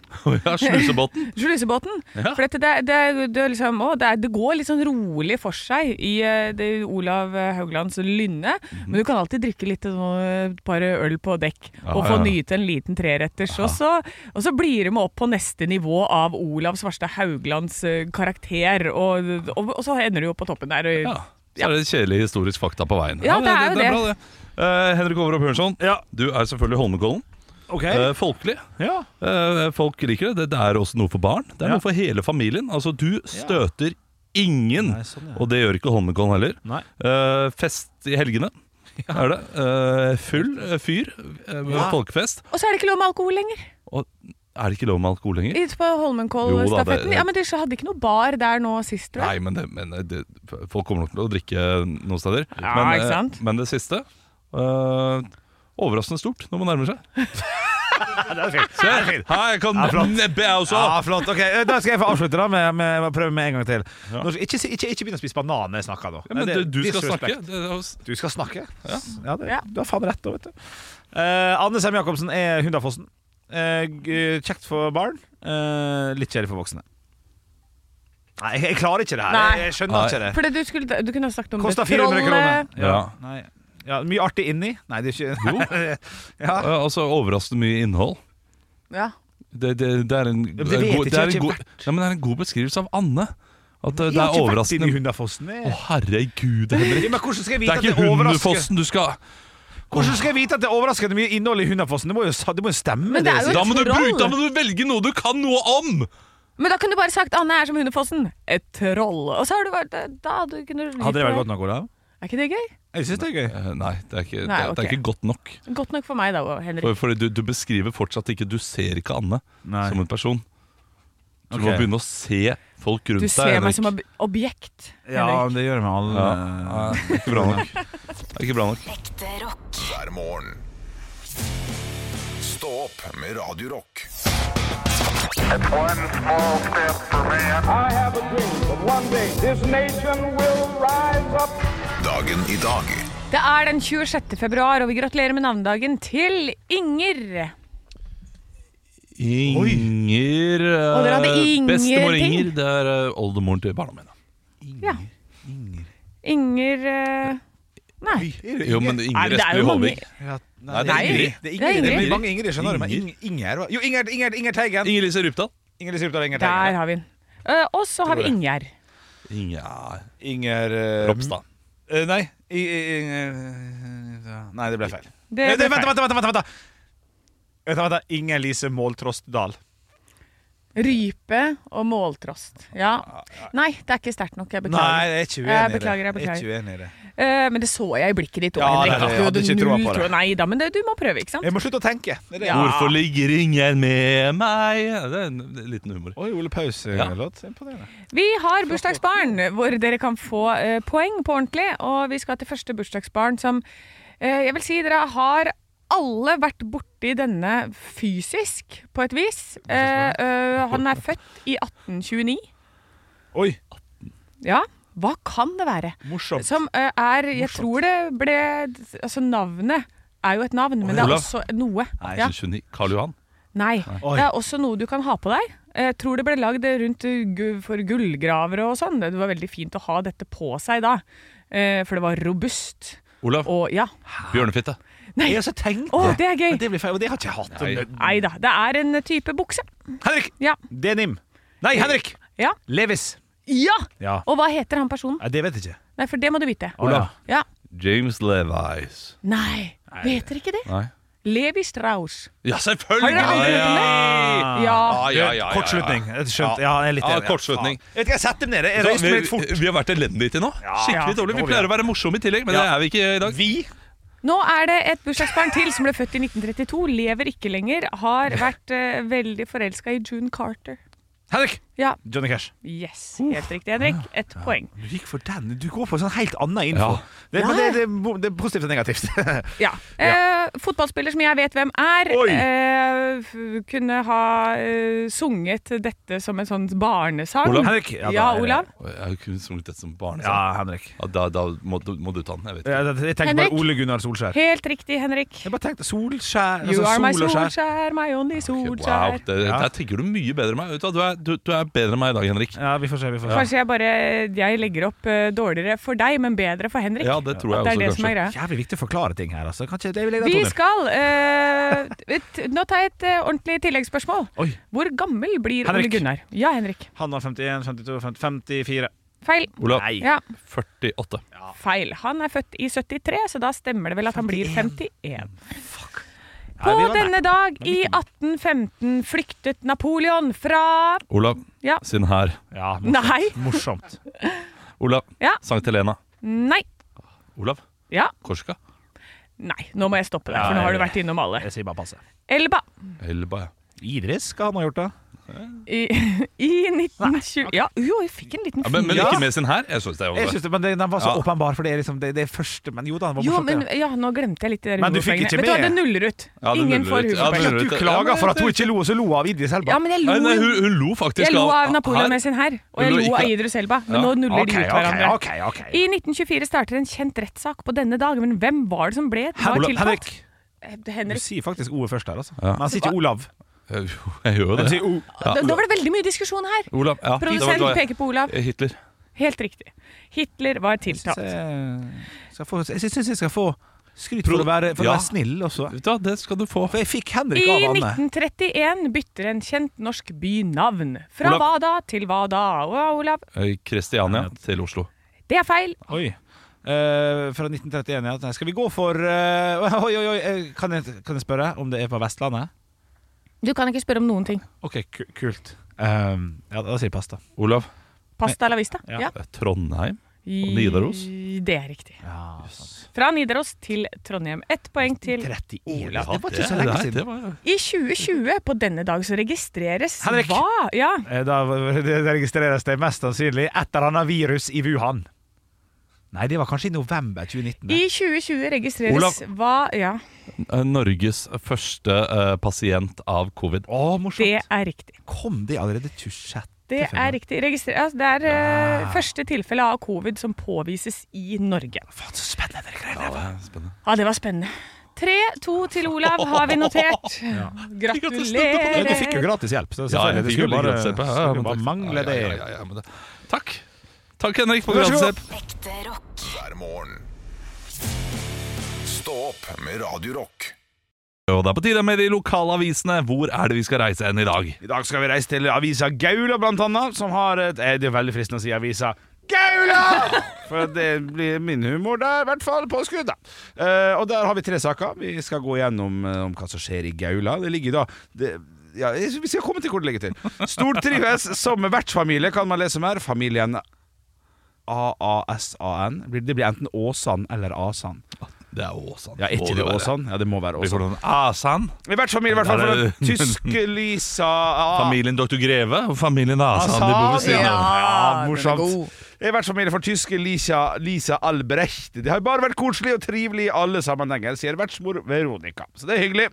Ja, Slusebåten.
Sluisebåten.
Ja.
For dette, det, er- det, er- det, er liksom, å, det, er, det går litt sånn rolig for seg i eh, det, Olav eh, Hauglands lynne,
Mhm.
men du kan alltid drikke litt sånn, et par øl på dekk og
Ja,
få
ja.
nyte en liten treretters. Og så, og så blir du med opp på neste nivå av Olav Svarstad Hauglands eh, karakter, og, og, og så ender du jo på toppen der. og-
Ja. Så er det kjedelige historisk fakta på veien.
Ja, det er jo
det, er
det.
bra, det. Eh, Henrik Overhopp Hørenson,
Ja.
du er selvfølgelig Holmenkollen.
OK.
Eh, folkelig.
ja.
Eh, folk liker det. det. Det er også noe for barn. Det er
Ja.
noe for hele familien. Altså, du støter ingen,
Nei, sånn, ja.
og det gjør ikke Holmenkollen heller.
Nei.
Eh, fest i helgene. Er det? Eh, full eh, fyr. eh, Folkefest.
Og så er det ikke lov med alkohol lenger.
Og er det ikke lov med alkohol lenger?
Ute på
Jo da, det-
Holmenkollstafetten. Ja, men de hadde ikke noe bar der nå sist, tror
Nei,
jeg.
men, det, men eh, det, folk kommer nok til å drikke noen steder.
Ja,
men,
ikke
eh,
sant?
men det siste eh, Overraskende stort når man nærmer seg.
Det er fint.
Se,
Det er fint.
her kan
Ja, flott.
nebbe jeg også!
Ja, flott. Ok, eh, Da skal jeg få avslutte da med, med, med å prøve med en gang til. Nå skal- Ikke, si- ikke, ikke begynn å spise banan når jeg snakker nå.
Ja, men
Det
du,
er
du skal
disrespect.
snakke. Det, er jo-
Du skal snakke? Ja, det,
Ja.
Du har faen rett da, vet du. Eh, Anne Sem Jacobsen er Hundafossen. Eh, g- kjekt for barn, eh, litt kjedelig for voksne. Nei, jeg, jeg klarer ikke det her.
Nei.
Jeg, jeg skjønner
Nei.
ikke det.
For det du, skulle, du kunne ha snakket om det
Kosta 400 kroner.
trollet.
Ja.
Nei. Ja, mye artig inni. Nei, det er [laughs] ikke ja.
Eh, altså, overraskende mye innhold.
Ja.
Det, det, det er en,
men det vet
god-
jeg ikke,
det er
jeg har ikke
en god, ja, men det er en god beskrivelse av Anne. At det,
Jeg
det
har ikke vært
er
inni
overraskende.
Hundafossen. jeg.
Å, herregud, Henrik.
Ja, men hvordan skal jeg
Det
vite
er
at det
ikke
er overraskende?
Hundefossen du skal
Hvordan skal jeg vite at det er overraskende mye innhold i Hundafossen? Det må jo, sa- det må jo stemme.
Men det er jo
jeg
da må, du
troll.
bruke, da må du velge noe du kan noe om!
Men da kunne du bare sagt 'Anne er som Hundefossen'. Et troll. Og så har du vært eh, Da hadde du kunnet
sier. Hadde det vært godt nok, Olav?
Er ikke det gøy?
Jeg syns det er gøy.
Eh, Nei, det er ikke,
Nei,
det, det
ok.
er ikke godt nok.
Godt nok for meg da, Henrik.
For, fordi du, du beskriver fortsatt ikke Du ser ikke Anne
Nei.
som en person. Du må
Ok.
begynne å se folk rundt
Du ser
deg.
meg som ob- objekt.
Ja,
Henrik.
det gjør vi med alle.
ja. Nei, det er ikke bra nok. Det er ikke bra nok.
hver morgen. Stå opp med Radio Rock.
I have a dream that one day this nation will rise up.
Dagen i dag
Det er den 26. februar, og vi gratulerer med navnedagen til Inger.
Inger eh,
Og dere hadde Inger-ting.
Bestemor Inger. Det er eh, oldemoren til barna mine.
Ja. Inger eh, Nei.
Jo, men
Nei,
Inger
det er jo
Espelid Håvik.
mange-
Ja,
Nei, det er Ingrid.
Det er
Det er
Ingrid. Det
Ingrid.
blir mange Ingrid, skjønner du. Men
Inger.
Ing- Inger var Jo, Inger, Inger, Inger Teigen.
Inger Lise Rypdal.
Inger Lise Rypdal, Inger
Der
Teigen.
har vi den. Eh, og så har vi
Tror det.
Ingjerd.
Inger
Inger eh,
Ropstad.
eh, nei. I, i, Inger Nei, det ble feil.
Det
Eh,
ble
det- Vent, vent, vent! vent, vent, vent. Vent, vent, vent. Inger Lise Måltrost Dahl.
Rype og måltrost. Ja. Nei, det er ikke sterkt nok. Jeg
Nei,
beklager.
jeg er ikke
Jeg
uenig i det.
beklager, jeg
er ikke uenig i det.
Eh, men det så jeg i blikket ditt òg,
Ja,
Henrik.
nei, nei,
Du
jeg hadde ikke
null
troa på det.
tro- Nei da, men det, du må prøve, ikke sant?
Jeg må slutte å tenke. Det er det.
Ja.
Hvorfor ligger ingen med meg? Det er en liten humor.
Oi, Ole eh, Paus-låt. Imponerende.
Vi har bursdagsbarn hvor dere kan få eh, poeng på ordentlig. Og vi skal til første bursdagsbarn som eh, Jeg vil si dere har alle vært borti denne fysisk, på et vis. Eh, eh, han er født i 1829.
Oi,
Ja, hva kan det være?
morsomt.
Som eh, er Jeg tror det ble Altså, navnet er jo et navn, men det er
Olav.
også noe.
Nei,
Ja.
29. Karl Johan.
Nei.
Oi.
Det er også noe du kan ha på deg. Jeg tror det ble lagd rundt gu- for gullgravere og sånn. Det var veldig fint å ha dette på seg da. Eh, For det var robust.
Olav.
Og ja.
Bjørnefitte.
Jeg har så tenkt
Å, det er
Men
gøy!
det blir feil, og det har ikke jeg hatt.
Nei.
Nei da. Det er en type bukse.
Henrik!
Ja.
Denim. Nei, Henrik!
Ja.
Levis.
ja!
Ja.
Og hva heter han personen?
Nei, det vet jeg ikke.
Nei, for det må du vite.
Olav.
Ja.
James Levis.
Nei, vet dere ikke det?
Nei.
Levi Strauss.
Ja,
Har
selvfølgelig!
dere aldri hørt om det? Ja.
ja, ja, ja.
Kortslutning. Jeg Skjønt. Ja, jeg er litt
Ja,
enig.
kortslutning.
Faen. Vet du hva, jeg setter dem nede. Jeg
Så,
røyste
vi,
meg litt fort.
vi har vært elendige til nå. Skikkelig dårlig. Vi
Nå må vi
pleier å være morsomme i tillegg, men det
Ja.
er vi ikke i dag.
Vi?
Nå er det et bursdagsbarn til som ble født i 1932. Lever ikke lenger. Har vært eh, veldig forelska i June Carter.
Henrik!
Ja,
Johnny Cash.
yes, helt riktig, Henrik. Ett poeng.
Du gikk for den. Du går for sånn helt annen info.
Ja.
Det, men
Ja.
det, det, det er positivt og negativt. [laughs]
Ja. Eh, fotballspiller som jeg vet hvem er,
Oi.
eh, f- kunne ha eh, sunget dette som en sånn barnesang.
Olav?
Henrik? Ja,
Ja,
da er det-
Olav.
Jeg har kun sunget dette som barn.
Ja,
Ja.
Henrik.
da da må, du- må du ta den. Jeg vet ikke.
Jeg, jeg tenkte
Henrik?
bare Ole Gunnar Solskjær.
Helt riktig, Henrik.
Jeg bare tenkte Solskjær
You are my
sånn sol og skjær.
solskjær, my only
Wow,
solskjær.
det,
Ja.
Der tenker du mye bedre enn meg. Vet du, hva, du, er, du, du er bedre enn meg i dag, Henrik.
Ja, vi får se. Vi får se.
Kanskje jeg bare jeg legger opp eh, dårligere for deg, men bedre for Henrik.
Ja, det tror
At
jeg
det er det
også,
som er
kanskje.
greia.
Jævlig viktig å forklare ting her, altså. Kanskje det vil jeg da,
Vi
Tone?
skal eh, et- Nå tar jeg et eh, ordentlig tilleggsspørsmål.
Oi.
Hvor gammel blir
Henrik.
Ole Gunnar? Ja, Henrik.
Han var 51, 52, 50, 54.
Feil.
Olav,
Nei.
Ja,
48.
feil. Han er født i 73, så da stemmer det vel at han blir 51. På
Nei, vi var nær.
denne dag i 1815 flyktet Napoleon fra
Olav,
Ja.
siden her.
Ja, morsomt.
Nei.
morsomt.
Olav,
Ja.
Sankt Helena.
Nei.
Olav,
Ja.
Korsika.
Nei. Nå må jeg stoppe deg, for nå har du vært innom alle.
Jeg sier bare passe.
Elba.
Elba, ja.
Idris skal han ha gjort det.
I, i 1920 Ja, jo, jeg fikk en liten
ja men, men
finger.
ikke med sin her. Jeg synes det
Jeg
er over.
synes det, men det, Den var så
Ja.
åpenbar, for det er liksom det, det er første Men jo da, den var
Jo,
morsomt.
men
ja.
ja, nå glemte jeg litt de der
Men du fikk
humorpoengene.
ikke
Vet du hva,
med.
det nuller ut.
Ja, det
Ingen
nuller
får
ut. Ja,
Ikke
humorpoeng.
det nuller
at du
Ja,
klager
men
for at hun
det-
ikke lo, og så lo av Idris Elba.
Ja, men jeg
Nei, nei, hun,
lo,
hun lo faktisk
jeg lo av Napoleon
her.
med sin her, og
Hun
jeg
lo
lo av
ikke-
Idris Elba,
Ja.
men nå nuller de
Ok,
ut
ok,
hverandre.
ok, ok.
I 1924 starter en kjent rettssak på denne dag, men hvem var det som ble var
Hen-
tiltalt?
Henrik.
Eh,
Du
Henrik.
sier faktisk ordet først her, altså.
Ja.
Men han sier ikke Olav.
Jeg, jeg gjør Eh, jo
Han
det.
sier O.
Ja,
Da, da var det veldig mye diskusjon her.
Olav, ja. det var- det
Produsent
var-
peker på Olav.
Hitler.
Helt riktig. Hitler var tiltalt.
Jeg eh, skal få- jeg syns jeg skal få skryt for
Pro-
å være, for å
Ja.
være snill også.
Vet du hva, det skal du få.
For jeg fikk Henrik
I
av Anne.
1931 bytter en kjent norsk by navn. Fra
Olav.
hva da til hva da? Å, Olav,
Eh, Kristiania til Oslo.
det er feil.
Oi. Eh, fra 1931, ja. Nei, Skal vi gå for eh, Oi, oi, oi. eh, Kan jeg, kan jeg spørre om det er på Vestlandet?
Du kan ikke spørre om noen ting.
OK, ku- kult. Um, ja, da sier jeg pass, da.
Olav,
Pasta la vista?
Ja.
eh, Trondheim. Nidaros?
I- Det er riktig.
sånn.
Fra Nidaros til Trondheim. Ett poeng til.
31.
Ja,
det var ikke så lenge
nei,
siden.
Det var,
I 2020, på denne dag, så registreres
Henrik.
hva? Ja.
Eh, Da det registreres det mest sannsynlig et eller annet virus i Wuhan. Nei, det var kanskje i november 2019. det.
I 2020 registreres
Olav.
hva Ja,
eh, Norges første eh, pasient av covid.
Å, morsomt.
det er riktig.
Kom det allerede 26.
Det
februar?
er riktig. Registre- altså, det er eh,
Ah.
første tilfelle av covid som påvises i Norge.
Faen, så spennende det greiene der.
Ja, spennende.
Ja, det var spennende. 3-2 til Olav har vi
[laughs]
notert.
Men Du fikk jo
Gratulerer.
gratis hjelp. Så
Ja,
selvfølgelig,
jeg
det
fikk jo
skulle
litt
bare,
grønnsepe. Ja, ja,
skulle
men
bare
takk.
mangle det.
Ja, ja, ja, ja, men det- Takk. Takk, Henrik, for
Vær så god.
grønnsepp.
hver morgen. Stå opp med Radio Rock.
Og det er på tide med de lokale avisene. Hvor er det vi skal reise hen i dag?
I dag skal vi reise til avisa Gaula, blant annet, som har et eh, Det er veldig fristende å si avisa Gaula! For det blir min humor der, i hvert fall på skuddet. Eh, og der har vi tre saker. Vi skal gå gjennom eh, om hva som skjer i Gaula. Det ligger da det, ja, Vi skal komme til hvor det ligger til. Stortrives som vertsfamilie, kan man lese om her. Familien AASAN. Det blir enten Åsan eller Asan.
Det er Åsan.
Ja, er ikke det Åsan? Ja, det må være
Vi får
Åsan.
noen Asan.
I vertsfamilie, i hvert fall.
Der
For
er
den
det-
tyske Lisa
Familien Dr. Greve og familien Asan. de bor ved
Asan,
siden av.
Ja, morsomt. Jeg har vært familie for tyske Lisa, Lisa Albrecht. Det har bare vært koselig og trivelig i alle sammenhenger, sier vertsmor Veronica. Så det er hyggelig.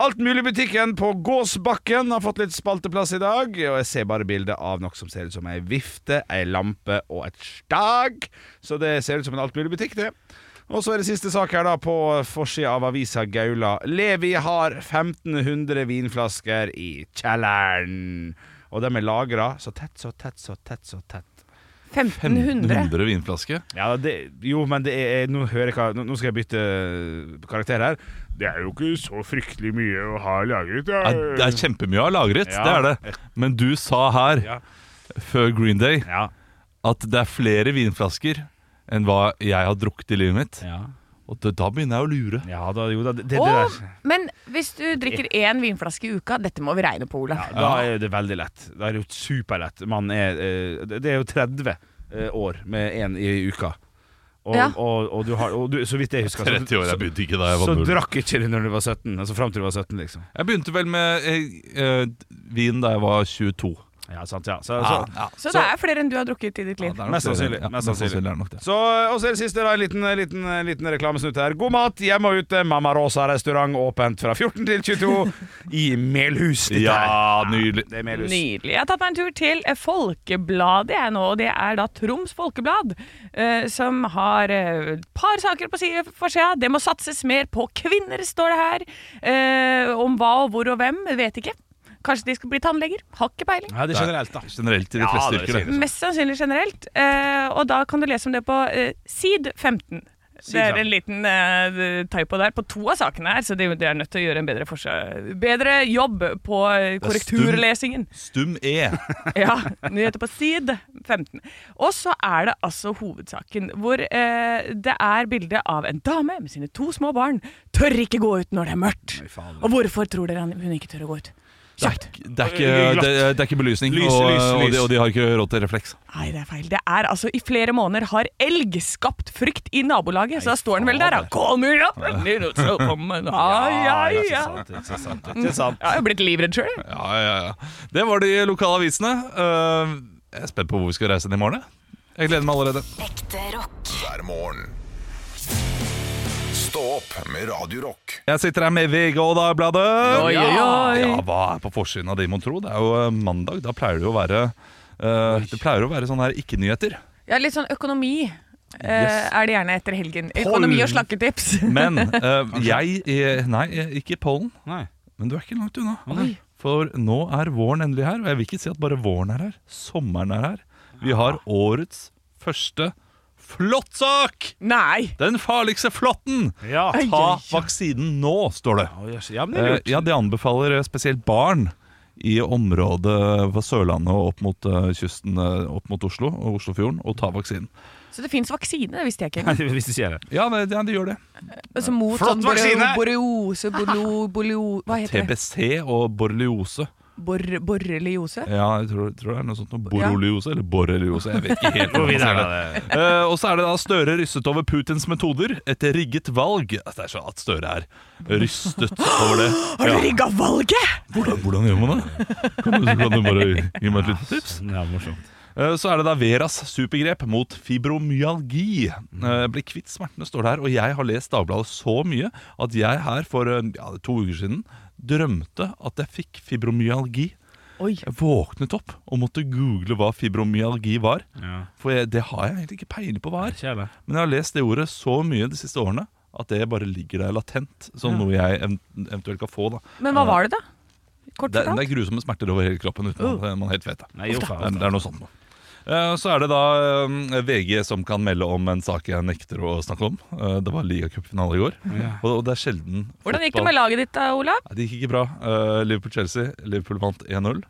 Alt mulig i butikken på Gåsbakken har fått litt spalteplass i dag. Og jeg ser bare bilde av noe som ser ut som ei vifte, ei lampe og et stag. Så det ser ut som en alt mulig butikk, det. Og så er det siste sak her da på forsida av avisa Gaula. Levi har 1500 vinflasker i kjelleren. Og de er lagra så tett, så tett, så tett, så tett.
1500.
100 vinflaske.
Ja, det, jo, men det er, nå, hører jeg, hva- nå nå skal jeg bytte eh, karakter her. Det er jo ikke så fryktelig mye å ha lagret.
Ja, Det er kjempemye å ha lagret,
Ja.
det er det. Men du sa her,
Ja.
før Green Day,
Ja.
at det er flere vinflasker enn hva jeg har drukket i livet mitt.
Ja.
Og det, da begynner jeg å lure.
ja da, jo da. Det, det,
Og,
der.
men hvis du drikker én vinflaske i uka Dette må vi regne på, Olav.
Da er det veldig lett. Da er det jo superlett. Man er, eh, det det er jo 30 eh, år med én i uka. Og,
Ja.
og, og, du har og du, Så vidt jeg
[laughs]
husker så-
30 år, jeg begynte ikke da jeg
så,
var
så
null.
drakk ikke du når du var 17. Altså fram til du var 17, liksom.
Jeg begynte vel med eh, eh, vin da jeg var 22.
Ja, sant, ja. Så,
Ja,
så,
ja.
Så, det er flere enn du har drukket i ditt liv.
det er nok
Mest
det.
sannsynlig,
Ja,
mest
mest
sannsynlig.
sannsynlig er det nok det.
så, og så er det siste, da. En liten, liten, liten reklamesnutt her. God mat hjemme og ute. Mamma Rosa restaurant åpent fra 14 til 22 i Melhus. dette
Ja,
her.
nydelig.
Det er Melhus.
Nydelig. Jeg har tatt meg en tur til eh, Folkebladet jeg nå, og det er da Troms Folkeblad, eh, som har eh, et par saker på side forsida. Det må satses mer på kvinner, står det her. Eh, om hva og hvor og hvem, vet ikke. Kanskje de skal bli tannleger. Har ikke peiling.
Ja, det er generelt, da.
Generelt i de
Ja,
fleste
det er
yrker. altså. det.
Mest sannsynlig generelt. Eh, og da kan du lese om det på eh, sid 15. Det er en liten eh, typo der på to av sakene her, så de, de er nødt til å gjøre en bedre, forse- bedre jobb på eh,
er stum-
korrekturlesingen.
Stum E.
Ja, nyheter på side 15. Og så er det altså hovedsaken, hvor eh, det er bilde av en dame med sine to små barn. Tør ikke gå ut når det er mørkt. Og hvorfor tror dere han- hun ikke tør å gå ut? Kjapt.
Det er ikke, det, det er ikke belysning,
Lys,
og,
lys,
og,
lys.
de, og de har ikke råd til refleks.
Nei, det er feil. Det er altså I flere måneder har elg skapt frykt i nabolaget, så da står den vel der, da. Kom her opp! Ai, ai, ja.
Ikke sant. Ikke sant.
Jeg har jo blitt livredd sjøl, jeg.
Ja, ja, ja. Det var de lokale avisene. Eh, jeg er spent på hvor vi skal reise den i morgen. jeg. Jeg gleder meg allerede.
Ekte rock.
hver morgen. Stå opp med Radio Rock.
Jeg sitter her med VG og Dagbladet.
Oi, oi, oi.
Ja, hva er på forsiden av de, mon tro? Det er jo eh, mandag. Da pleier det jo å være eh, Det pleier å være sånne her ikke-nyheter.
Ja, litt sånn økonomi eh,
Yes.
er det gjerne etter helgen. Økonomi og slakketips.
Men
[laughs]
eh, jeg eh, Nei, eh, ikke pollen.
Nei.
Men du er ikke langt unna. For nå er våren endelig her. Og jeg vil ikke si at bare våren er her. Sommeren er her. Vi har årets første flåttsak!
Nei!
Den farligste flåtten!
Ja.
Ai,
Ta
ai, ai.
vaksinen nå, står det.
Å, jøss. ja, men det er
Eh,
lurt.
Ja, de anbefaler eh, spesielt barn i området fra Sørlandet og opp mot eh, kysten eh, opp mot Oslo og Oslofjorden å ta vaksinen.
Så det fins vaksine, det visste
[laughs]
jeg ikke.
[laughs] Nei, Hvis de sier det.
Ja, det, ja, de gjør det.
Altså mot
Flott
sånn borre-
vaksine!
boreose,
[laughs]
bolo, bolio... Hva heter det?
TBC og borreliose.
Bor, borreliose?
Ja, jeg tror, tror det er noe sånt noe borreliose eller borreliose. Jeg vet ikke helt
Gå
hvordan man
videre,
sier det.
da. det.
Eh, og så er det da Støre rystet over Putins metoder. Et rigget valg. Altså, Det er så at Støre er rystet over det.
[gasps] Har du
Ja.
rigga valget?!
Hvordan, hvordan gjør man det? Kan du, kan du bare gi meg et lite tips?
Ja, morsomt.
Eh, Så er det da Veras supergrep mot fibromyalgi. Eh, Bli kvitt smertene, står det her. Og jeg har lest Dagbladet så mye at jeg her for eh, ja, to uker siden drømte at jeg fikk fibromyalgi.
Oi.
Jeg våknet opp og måtte google hva fibromyalgi var.
Ja.
For jeg, det har jeg egentlig ikke peiling på hva er.
Kjære.
Men jeg har lest det ordet så mye de siste årene at det bare ligger der latent som noe jeg ev- eventuelt kan få. da
Men hva var det, da? Oh. Kort
det, er- det
fortalt?
er grusomme smerter over hele kroppen uten at man helt vet det.
Nei, jo,
Uff da.
faen.
det, det er noe sånt nå. Eh, Så er det da eh, VG som kan melde om en sak jeg nekter å snakke om. Eh, Det var ligacupfinale i går, og og det er sjelden
Hvordan gikk det
fotball-
med laget ditt da, Olav?
Nei, Det gikk ikke bra. Eh, Liverpool-Chelsea. Liverpool vant 1-0.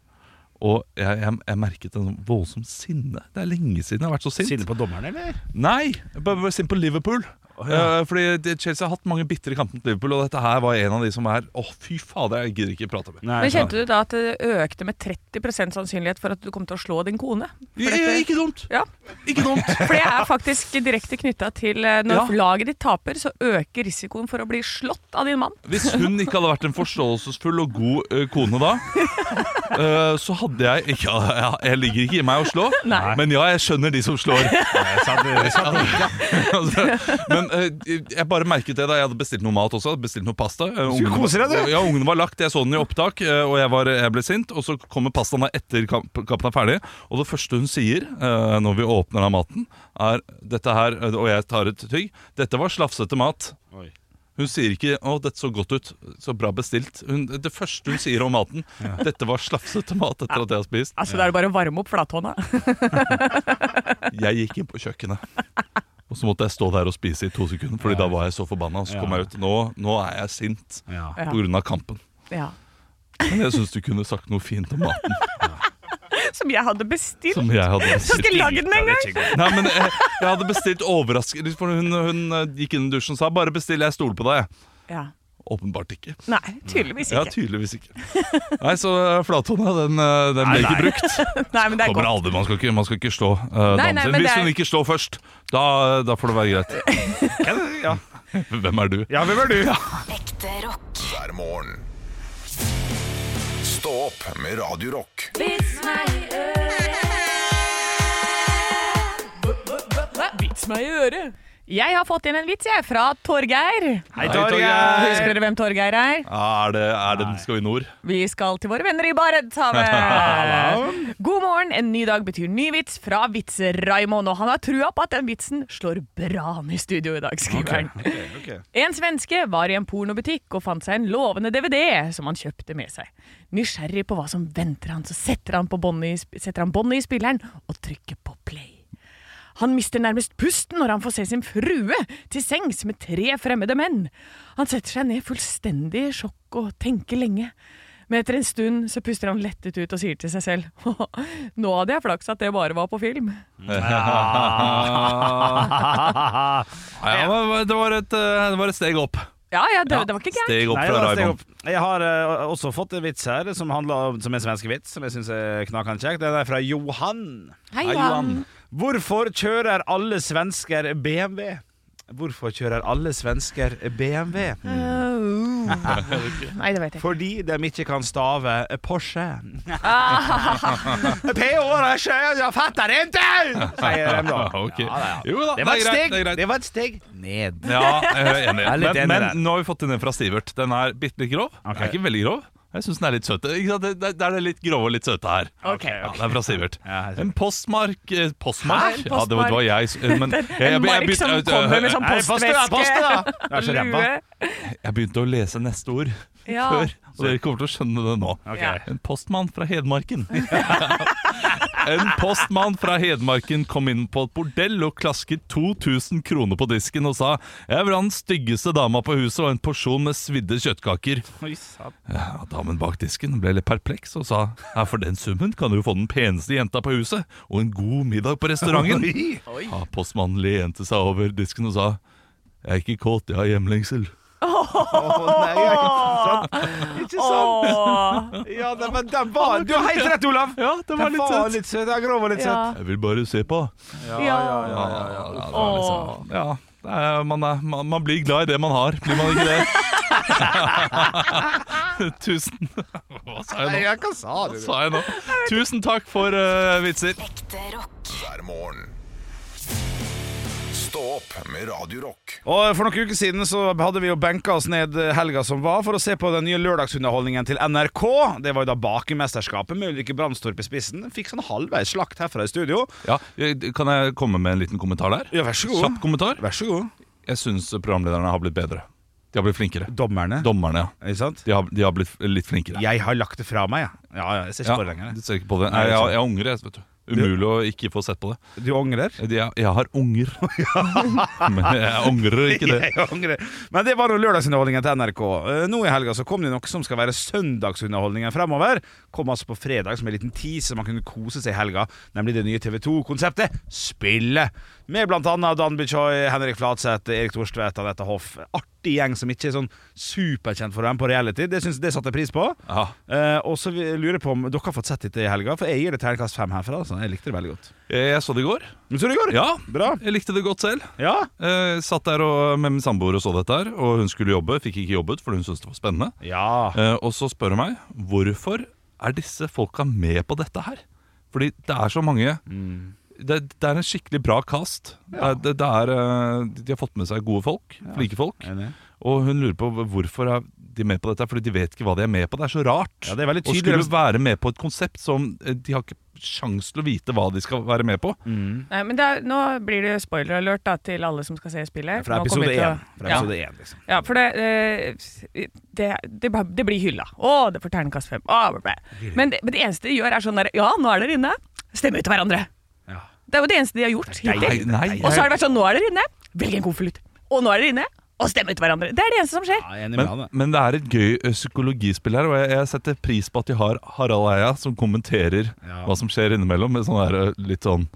Og jeg, jeg, jeg merket en sånn voldsom sinne. Det er lenge siden jeg har vært så sint.
Sinne på dommeren, eller?
Nei, bare bare sint på Liverpool. Eh, fordi det- Chelsea har hatt mange bitre kamper mot Liverpool, og dette her var en av de som er Å, fy fader, jeg gidder ikke prate med.
Nei,
Men Kjente du da at det økte med 30 sannsynlighet for at du kom til å slå din kone? For
Ja,
dette-
Ikke dumt!
Ja.
Ikke dumt!
[laughs] For det er faktisk direkte knytta til eh, når
Ja.
laget ditt taper, så øker risikoen for å bli slått av din mann.
Hvis hun ikke hadde vært en forståelsesfull og god eh, kone da, eh, så hadde jeg ja, ja, Jeg ligger ikke i meg å slå,
Nei.
men ja, jeg skjønner de som slår.
jeg sa det- jeg sa det.
Altså, men eh, jeg bare merket det da jeg hadde bestilt noe mat også. hadde Bestilt noe pasta. Eh,
Skulle
ungen
kose deg,
var-
du.
Ja, ungen var lagt, jeg så den i opptak, eh, og jeg, var, jeg ble sint. Og så kommer pastaen da etter kamp, kampen er ferdig, og det første hun sier eh, når vi åpner av maten, er dette her, eh, og jeg tar et tygg, dette var slafsete mat.
Oi.
Hun sier ikke 'Å, dette så godt ut. Så bra bestilt'. Hun, det første hun sier om maten, 'Dette var slafsete mat etter at jeg har spist'.
Altså, Da er det bare å varme opp flathånda.
[laughs] Jeg gikk inn på kjøkkenet. Og så måtte jeg stå der og spise i to sekunder, Fordi da var jeg så forbanna. og Så kom jeg ut. Nå, nå er jeg sint
Ja.
Ja.
pga. kampen.
Ja.
Men jeg syns du kunne sagt noe fint om
[laughs]
maten
Som jeg hadde bestilt.
som jeg hadde
Jeg skal ikke lage den engang!
Nei, men jeg, jeg hadde bestilt overraskelse. For hun, hun eh, gikk inn i dusjen og sa 'bare bestill, jeg stoler på deg'.
Ja.
Åpenbart ikke.
Nei, tydeligvis
Ja,
ikke.
tydeligvis ikke. Nei, så eh, flathånda, den, eh, den ble ikke brukt.
Nei, men det er
Kommer
godt.
aldri, man skal ikke, man skal ikke slå eh, damen
nei,
sin.
men det
Hvis
er-
hun ikke slår først, da, da får det være greit. [laughs]
Ja.
Hvem er du?
ja, hvem er du?
Ekte rock.
hver morgen. Stå opp med Radio Rock.
Vits meg i øret.
Vits meg i øret. Jeg har fått inn en vits jeg, fra Torgeir.
Hei,
Husker dere hvem Torgeir er?
Ja, Er det, er det den skal i nord?
Vi skal til våre venner i [laughs] Barentshavet. God morgen. En ny dag betyr ny vits fra Vitse-Raymond. Og han har trua på at den vitsen slår bra an i studio i dag, skriver han. En svenske var i en pornobutikk og fant seg en lovende DVD som han kjøpte med seg. Nysgjerrig på hva som venter han, så setter han, på båndet i sp- setter han båndet i spilleren og trykker på play. Han mister nærmest pusten når han får se sin frue til sengs med tre fremmede menn. Han setter seg ned fullstendig i sjokk og tenker lenge. Men etter en stund så puster han lettet ut og sier til seg selv Nå hadde jeg flaks at det bare var på film.
[laughs]
Ja, ja, men det, var et, eh, det var et steg opp.
Ja, ja, det, det var ikke gærent.
Steg opp
Nei,
fra
da, steg
Raymond.
opp. Jeg har eh, også fått en vits her som, handler om, som er en svensk vits, som jeg syns er knakende kjekk. Den er fra Johan.
Hei, Johan.
Hvorfor kjører alle svensker BMW? Hvorfor kjører alle svensker BMW?
Mm. Au. Nei, det vet jeg ikke.
Fordi de ikke kan stave Porsche.
Ah.
[laughs] P-Porsche, E, jeg fatter ikke! Sier
[laughs]
de da.
Ah, Ok.
Ja, ja, ja.
Jo da,
Det var et
det er greit,
steg,
det er greit.
det var et steg ned.
Ja, jeg er enig.
[laughs] Jeg er litt
Men,
enig
men
der.
nå har vi fått inn en fra Sivert. Den er bitte litt grov. Den
Ok.
Er ikke veldig grov. Jeg syns den er litt søt. Ikke sant? Det, det- det er det litt grove og litt søte her.
Ok,
Ja, det er fra Sivert.
Ja, jeg ser.
En postmark eh, Postmark?
Hæ? En
Ja, det var, det var jeg s-
[laughs]
men, jeg, jeg,
En mark
begynte-
som
jeg-
kommer med sånn
Nei, poste da, poste
postveske.
da. Vær så ræva.
Lue.
Jeg begynte å lese neste ord
Ja.
før, og dere kommer til å skjønne det nå.
[laughs]
Ja.
En postmann fra Hedmarken. [laughs] en postmann fra Hedmarken kom inn på et bordell og klasket 2000 kroner på disken og sa 'Jeg vil ha den styggeste dama på huset og en porsjon med svidde kjøttkaker'. Ja, damen bak disken ble litt perpleks og sa 'Ja, for den summen kan du få den peneste jenta på huset og en god middag på restauranten'. Ja, postmannen lente seg over disken og sa 'Jeg er ikke kåt, jeg har hjemlengsel'.
Sånn,
Åh,
Ja, det var, det var, du har helt rett, Olav!
Ja, det var
Den
litt
var
søtt.
litt søt. Den er grov og litt
ja.
søt.
Jeg vil bare se på.
ja.
Ja, ja, ja, det var
Åh.
liksom, ja. det er- Man, er, man, man blir glad i det man har, blir man ikke det? [laughs] Tusen Hva sa jeg nå?
Ja, hva sa du?
Hva sa jeg nå? Tusen takk for eh, vitser.
hver morgen. Stå opp med Radio Rock.
Og eh, For noen uker siden så hadde vi jo benka oss ned eh, helga som var, for å se på den nye lørdagsunderholdningen til NRK. Det var jo da Bakemesterskapet med Ulrikke Brandstorp i spissen. Fikk sånn halvveis slakt herfra i studio.
Ja, jeg- kan jeg komme med en liten kommentar der?
Ja, vær så god.
Kjapp kommentar.
Vær så god.
Jeg syns programlederne har blitt bedre. De har blitt flinkere.
Dommerne.
Dommerne, ja.
ikke sant?
De har, de har blitt litt flinkere.
Jeg har lagt det fra meg, jeg. Ja, ja, jeg ser ikke
Ja,
på det lenger.
du
jeg.
ser ikke på det.
Nei,
Nei,
det er
jeg,
sant.
jeg angrer. jeg, Vet du. Umulig å ikke få sett på det.
Du angrer?
Jeg, jeg har unger. [laughs] Men jeg angrer ikke [laughs] det.
[laughs] Jeg angrer. Men det var nå lørdagsunderholdningen til NRK. Eh, Nå i helga så kom det noe som skal være søndagsunderholdningen fremover. Kom altså på fredag som en liten tease man kunne kose seg i helga, nemlig det nye TV2-konseptet Spillet. Med blant annet Dan Bichoy, Henrik Flatseth, Erik Thorstvedt, Anette Hoff. Artig gjeng som ikke er sånn superkjent for dem på reality. Det, synes, det satte jeg pris på.
Ja.
Eh, og så vi- lurer jeg på om dere har fått sett dette i helga, for jeg gir det terningkast fem herfra. Altså. Jeg likte det veldig godt.
Jeg Eh, jeg så det i går.
Men så det går.
Ja,
Bra.
jeg likte det godt selv.
Ja.
Eh, satt der og, med min samboer og så dette her, og hun skulle jobbe. Fikk ikke jobbet, for hun syntes det var spennende.
Ja.
Eh, og så spør hun meg hvorfor er disse folka med på dette her? Fordi det er så mange.
Mm.
Det, det er en skikkelig bra cast. Det, det, det er, eh, de har fått med seg gode folk, flinke folk.
Enig.
Og hun lurer på hvorfor er de med på dette, fordi de vet ikke hva de er med på. Det er så rart.
Ja, det er veldig
Å
tydelig.
skulle være med på et konsept som eh, de har ikke sjans til å vite hva de skal være med på.
Mm.
Nei, men det er, nå blir det spoiler alert da, til alle som skal se spillet.
Fra
Nå
episode
kommer vi til
én.
å-
Fra
Ja.
episode én, liksom.
Ja, for det, eh, det, det, bare- det blir hylla. Å, det får terningkast fem. Å, bla, bla. Men, det, men det eneste de gjør, er sånn der Ja, nå er dere inne. Stemme ut til hverandre.
Ja.
Det er jo det eneste de har gjort hittil.
nei,
Og så har det vært sånn Nå er dere inne. Velg en konvolutt. Og nå er dere inne. Og stemme ut hverandre. Det er det eneste som skjer.
Ja, jeg er enig med han,
Men,
da.
men det er et gøy ø, psykologispill her, og jeg, jeg setter pris på at de har Harald Eia som kommenterer
Ja.
hva som skjer innimellom, med eh, sånn der, ø, litt sånn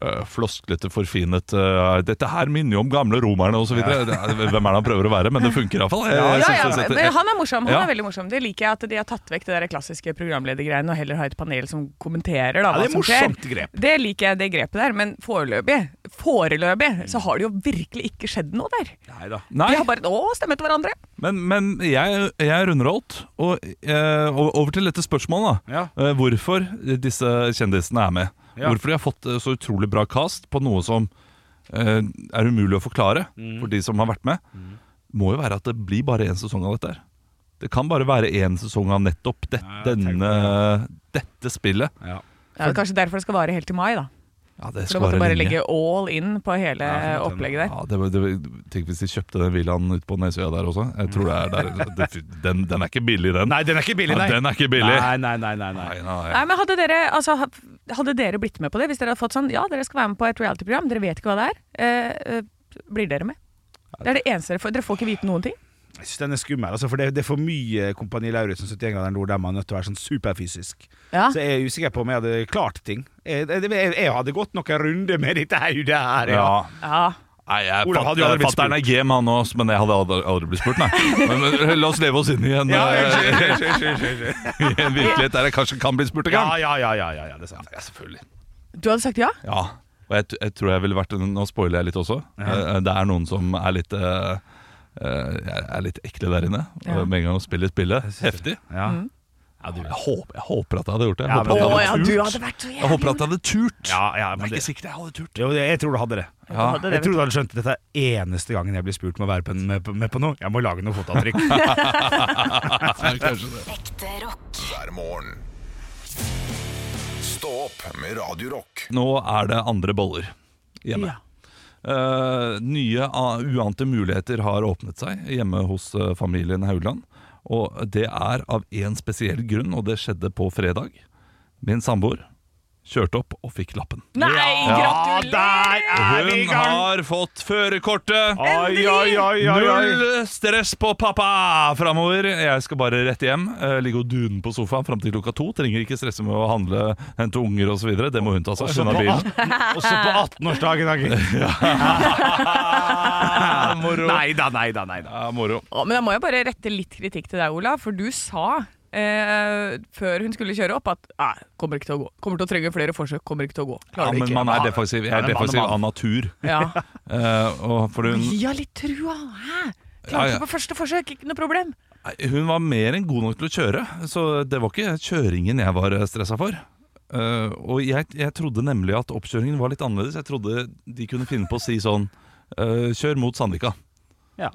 eh, flosklete, forfinet eh, 'Dette her minner jo om gamle romerne', osv. Hvem er det han prøver å være? Men det funker iallfall.
Ja, ja, men han er morsom. Han
Ja.
er veldig morsom. Det liker jeg at de har tatt vekk det der klassiske programledergreiene og heller har et panel som kommenterer da,
Ja,
hva
det er
som skjer.
morsomt grep.
Det liker jeg, det grepet der. Men foreløpig, foreløpig så har det jo virkelig ikke skjedd noe der.
Neida.
De har bare å, stemmet hverandre.
Men, men jeg, jeg er underholdt. Og eh, og over til dette spørsmålet. da
Ja.
Eh, Hvorfor disse kjendisene er med.
Ja.
Hvorfor de har fått eh, så utrolig bra cast på noe som eh, er umulig å forklare
Mm.
for de som har vært med. Må jo være at det blir bare én sesong av dette. her Det kan bare være én sesong av nettopp det,
Ja, jeg tenker
denne, dette spillet.
Ja.
Ja, det er kanskje derfor det skal vare helt til mai, da.
Ja, det
For
skal
da måtte
være
du bare
lenge.
legge all in på hele
Ja, sånn at den-
opplegget der.
Ja, det, var- det, var- tenk hvis de kjøpte den villaen ute på Nesøya der også. Jeg tror det er der. Det, den, den er ikke billig, den.
Nei, den er ikke billig, nei.
Ja, den er ikke billig.
Nei, nei, nei, nei, nei.
Nei, nei.
Nei, men hadde dere, altså, ha- hadde dere blitt med på det hvis dere hadde fått sånn Ja, dere skal være med på et reality-program, dere vet ikke hva det er. Eh, eh, blir dere med? Det er det eneste dere får. Dere får ikke vite noen ting.
Jeg synes den er skummel, altså, for det, det er for mye Kompani Lauritzen 71-graderen nord der man er nødt til å være sånn superfysisk.
Ja.
Så jeg er usikker på om jeg hadde klart ting. Jeg, jeg, jeg- jeg hadde gått noen runder med dette hodet her. Ja.
Ja.
Ja.
Nei, jeg
Olav hadde jo aldri blitt
Fatter'n er game, han også, men jeg hadde aldri, aldri blitt spurt,
[laughs]
nei. Men, men la oss leve oss inn i en,
Ja,
eh,
unnskyld, unnskyld, unnskyld, unnskyld, unnskyld.
[laughs] i en virkelighet der jeg kanskje kan bli spurt en
ja,
gang.
ja, ja, ja, ja, ja, det er sant.
Ja, selvfølgelig.
Du hadde sagt ja?
Ja. Og jeg, t- jeg tror jeg ville vært en- Nå spoiler jeg litt også. Eh, Det er noen som er litt eh, eh, Jeg er litt ekle der inne.
Ja.
Og Med en gang de spiller spillet heftig.
Ja.
Mm.
Jeg håper, jeg håper at jeg hadde gjort det. Jeg
Ja,
håper at
men-
jeg
Å ja,
hadde
du
turt.
hadde vært så
Jeg
jævlig
håper at jeg hadde turt.
Ja, ja, men
Jeg er
det,
ikke sikker jeg hadde turt.
jo, det, jeg tror du hadde det.
Du hadde det,
Jeg tror du hadde skjønt at dette er eneste gangen jeg blir spurt om å være på- med, med på noe. Jeg må lage noe fotavtrykk.
[laughs]
Nei, kanskje det.
Ekte rock.
hver morgen. Stå opp med Radio Rock.
Nå er det andre boller
vet du.
hjemme.
Ja.
Eh, nye a- uante muligheter har åpnet seg hjemme hos eh, familien Haugland. Og det er av én spesiell grunn, og det skjedde på fredag. Min samboer kjørte opp og fikk lappen.
Nei,
Ja,
gratulerer!
der er vi i
Hun
gang!
har fått førerkortet!
Oi, oi, oi, oi, oi.
Null stress på pappa framover. Jeg skal bare rett hjem. eh, Ligge og dune på sofaen fram til klokka to. Trenger ikke stresse med å handle, hente unger osv. Det må hun ta seg.
Også
Hun har
på
bilen.
18 også på 18-årsdagen, [laughs] Agil.
Moro.
Nei da, nei da, nei da.
Ja, moro.
Å, men da må jeg bare rette litt kritikk til deg, Ola, for du sa eh, før hun skulle kjøre opp at Nei, kommer ikke til å gå. Kommer til å trenge flere forsøk. Kommer ikke til å gå.
Ja,
Klarer det
men
ikke.
man er defensiv. Jeg
Ah, Ja,
er
det er mann og
defensiv
mann.
av natur.
Ja.
Eh, og for hun,
Gi henne litt trua. Hæ?
Ja,
Klarte
ja.
det på første forsøk, ikke noe problem.
hun var mer enn god nok til å kjøre, så det var ikke kjøringen jeg var stressa for. Eh, og jeg, jeg trodde nemlig at oppkjøringen var litt annerledes. Jeg trodde de kunne finne på å si sånn eh, Kjør mot Sandvika.
Ja,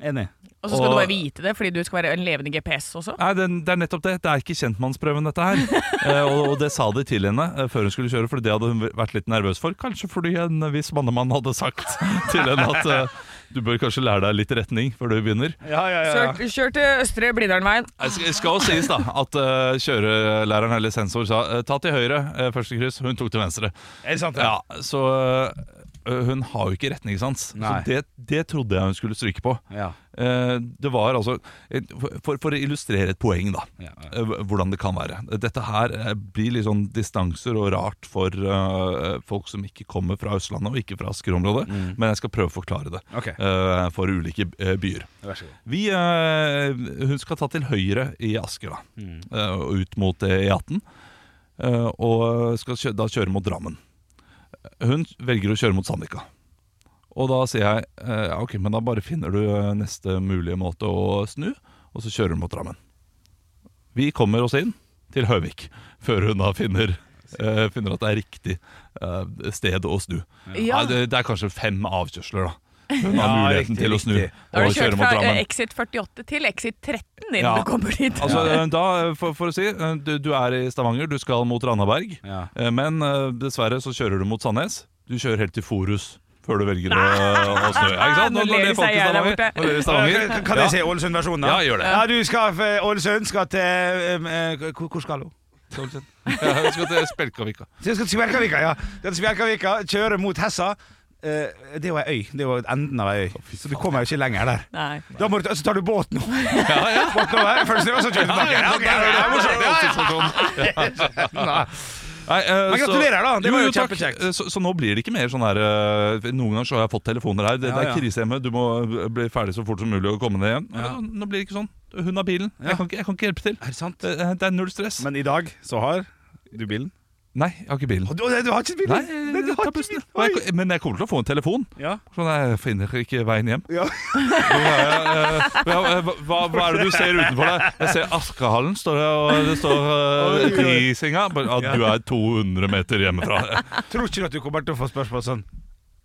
enig.
Og så skal
Og-
du bare vite det, fordi du skal være en levende GPS også.
Nei, det, det er nettopp det. Det er ikke kjentmannsprøven, dette her. Eh, og, og det sa de til henne eh, før hun skulle kjøre, for det hadde hun vært litt nervøs for. Kanskje fordi en viss mannemann hadde sagt til henne at eh, du bør kanskje lære deg litt retning før du begynner.
Ja, ja, ja.
Kjør, kjør til Østre Blindernveien.
Det sk- skal jo sies da at eh, kjørelæreren eller sensor sa eh, ta til høyre eh, første kryss, hun tok til venstre.
Er det sant?
Ja, Så eh, hun har jo ikke retningssans. Så
Nei.
det, det trodde jeg hun skulle stryke på.
Ja.
Eh, Det var altså eh, For, for å illustrere et poeng, da.
Ja, ja.
eh, Hvordan det kan være. Dette her eh, blir litt sånn distanser og rart for eh, folk som ikke kommer fra Østlandet og ikke fra Asker-området, men jeg skal prøve å forklare det
Ok.
eh, for ulike eh, byer.
Vær så god.
Vi, eh, hun skal ta til høyre i Asker, da.
Mm.
eh, og ut mot eh, E18. eh, og skal kjø da kjøre mot Drammen. Hun velger å kjøre mot Sandvika. Og da sier jeg eh, ja, ok, men da bare finner du eh, neste mulige måte å snu, og så kjører hun mot Drammen. Vi kommer oss inn til Høvik før hun da finner, eh, finner at det er riktig eh, sted å snu.
Ja.
Nei, det, det er kanskje fem avkjørsler, da. Hun har
Ja,
muligheten
riktig,
til å snu
riktig.
Da har
og
du kjørt
kjøre mot
fra eh,
Drammen.
exit 48 til exit 13 innen
Ja.
du kommer dit.
Altså, eh, da, eh, for, for å si, eh, du, du er i Stavanger, du skal mot Randaberg,
Ja.
eh, men eh, dessverre så kjører du mot Sandnes. Du kjører helt til Forus før du velger å, å snu. Ja, ikke sant?
Nå ler de
folk
seg i
i
hjel der borte.
Stavanger. Nå ler de i Stavanger.
Kan kan jeg si Ålesund-versjonen, da?
Ja, gjør det.
Ja, du skal f- Ålesund skal til eh, eh, Hvor hvor skal hun?
[laughs] Ja, vi skal til Spjelkavika.
Så Jeg skal til Spjelkavika, ja. Skal til Spjelkavika, kjøre mot Hessa. Eh, Det er jo ei øy. Det er jo enden av ei øy. Så du kommer jo ikke lenger der.
Nei.
Da må du, ta- så tar du [laughs] båten opp.
Ja, ja.
Båten over, først ned, og så kjører du tilbake. Ja, ok,
Der
det er [laughs]
er
morsomt.
det.
Ja, ja.
Nei, eh,
Men gratulerer, da. Det
jo,
var jo
jo, takk.
kjempekjekt.
Eh, Så, så nå blir det ikke mer sånn her eh, Noen ganger så har jeg fått telefoner her. Det,
Ja,
det
ja.
er krise hjemme, du må eh, bli ferdig så fort som mulig og komme ned igjen.
Ja.
Ja, nå blir det ikke sånn. Hun har bilen.
Ja.
Jeg, kan ikke, jeg kan ikke hjelpe til. Eh,
Er det sant?
Det, det er null stress.
Men i dag så har du bilen.
Nei, jeg har ikke bilen.
Å, Du, du har ikke bilen?
Nei,
du har
jeg tar
ikke
bussen.
bilen.
Og
Oi.
jeg- Men jeg kommer til å få en telefon.
Ja.
Sånn, jeg finner ikke veien hjem.
[laughs] Ja.
Nå er jeg, eh, hva, hva, hva- hva er det du ser utenfor deg? Jeg ser Askehallen, står det, og det står eh, Grisinga. Bare, Ja, du er 200 meter
[laughs]
hjemmefra.
Tror ikke du at du kommer til å få spørsmål sånn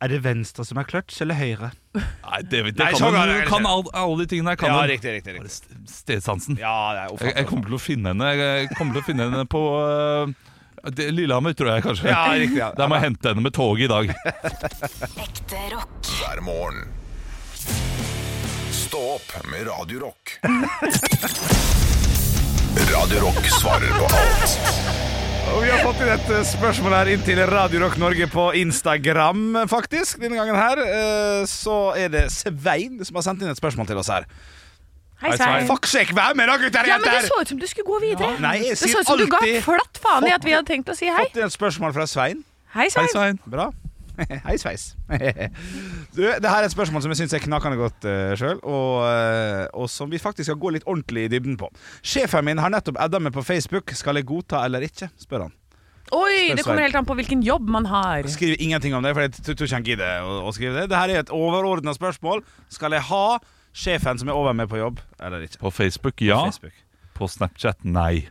Er det venstre som er kløtsj, eller høyre?
Nei, det, det
Nei,
kan,
sånn
man-
er det ikke.
kan all, alle de tingene her kan
Ja,
man.
riktig, riktig, riktig.
Bare st- Stedsansen.
Ja, det er
Jeg, jeg kommer til å finne henne Jeg kommer til å finne henne på eh, det- Lillehammer, tror jeg kanskje.
Ja, riktig, ja.
Der må jeg hente henne med toget i dag.
Ekte rock.
hver morgen. Stå opp med Radio Rock. Radio Rock svarer på alt.
Og vi har fått inn et eh, spørsmål her inn til Radio Rock Norge på Instagram, eh, faktisk. Denne gangen her eh, så er det Svein som har sendt inn et spørmål til oss her.
Hei, Svein.
Fuck seg, vær med da, gutter!
Ja, men
jenter!
Det så ut som du skulle gå videre.
Ja, nei, jeg
det
sier
så ut som du ga
alltid-
flatt faen i at vi hadde tenkt å si hei.
fått inn et spørsmål fra Svein.
Hei,
Hei,
Svein.
Svein.
Bra. [laughs] Hei, sveis. [laughs] du, det her er et spørsmål som jeg syns er knakende godt uh, sjøl, og, eh, og som vi faktisk skal gå litt ordentlig i dybden på. Sjefen min har nettopp adda meg på Facebook. Skal jeg godta eller ikke? spør han.
Oi,
Spør
det kommer
Svein.
helt an på hvilken jobb man har.
Skriver ingenting om det, for jeg t- tror ikke han gidder å, å skrive det. Det her er et overordna spørsmål. Skal jeg ha sjefen som er over meg på jobb, eller ikke?
På Facebook, ja.
Facebook.
På Snapchat, nei.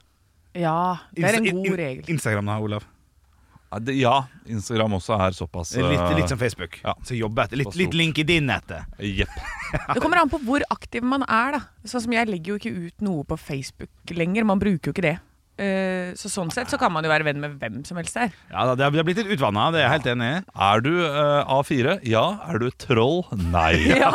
Ja, det er en
Insta-
god
in-
regel.
Instagram, da, Olav.
Ja, det- Ja, Instagram også er såpass eh,
Litt, litt som Facebook.
Ja.
Så jobbe etter. Litt,
Pass
litt
opp.
LinkedIn etter.
Jepp.
Det kommer an på hvor aktiv man er, da. Sånn som jeg legger jo ikke ut noe på Facebook lenger. Man bruker jo ikke det. Eh, Så sånn sett så kan man jo være venn med hvem som helst der.
Ja, da, det har- det har blitt litt utvanna, det er jeg helt enig i.
Er du eh, A4? Ja. Er du et troll?
[laughs]
Nei.
Ja.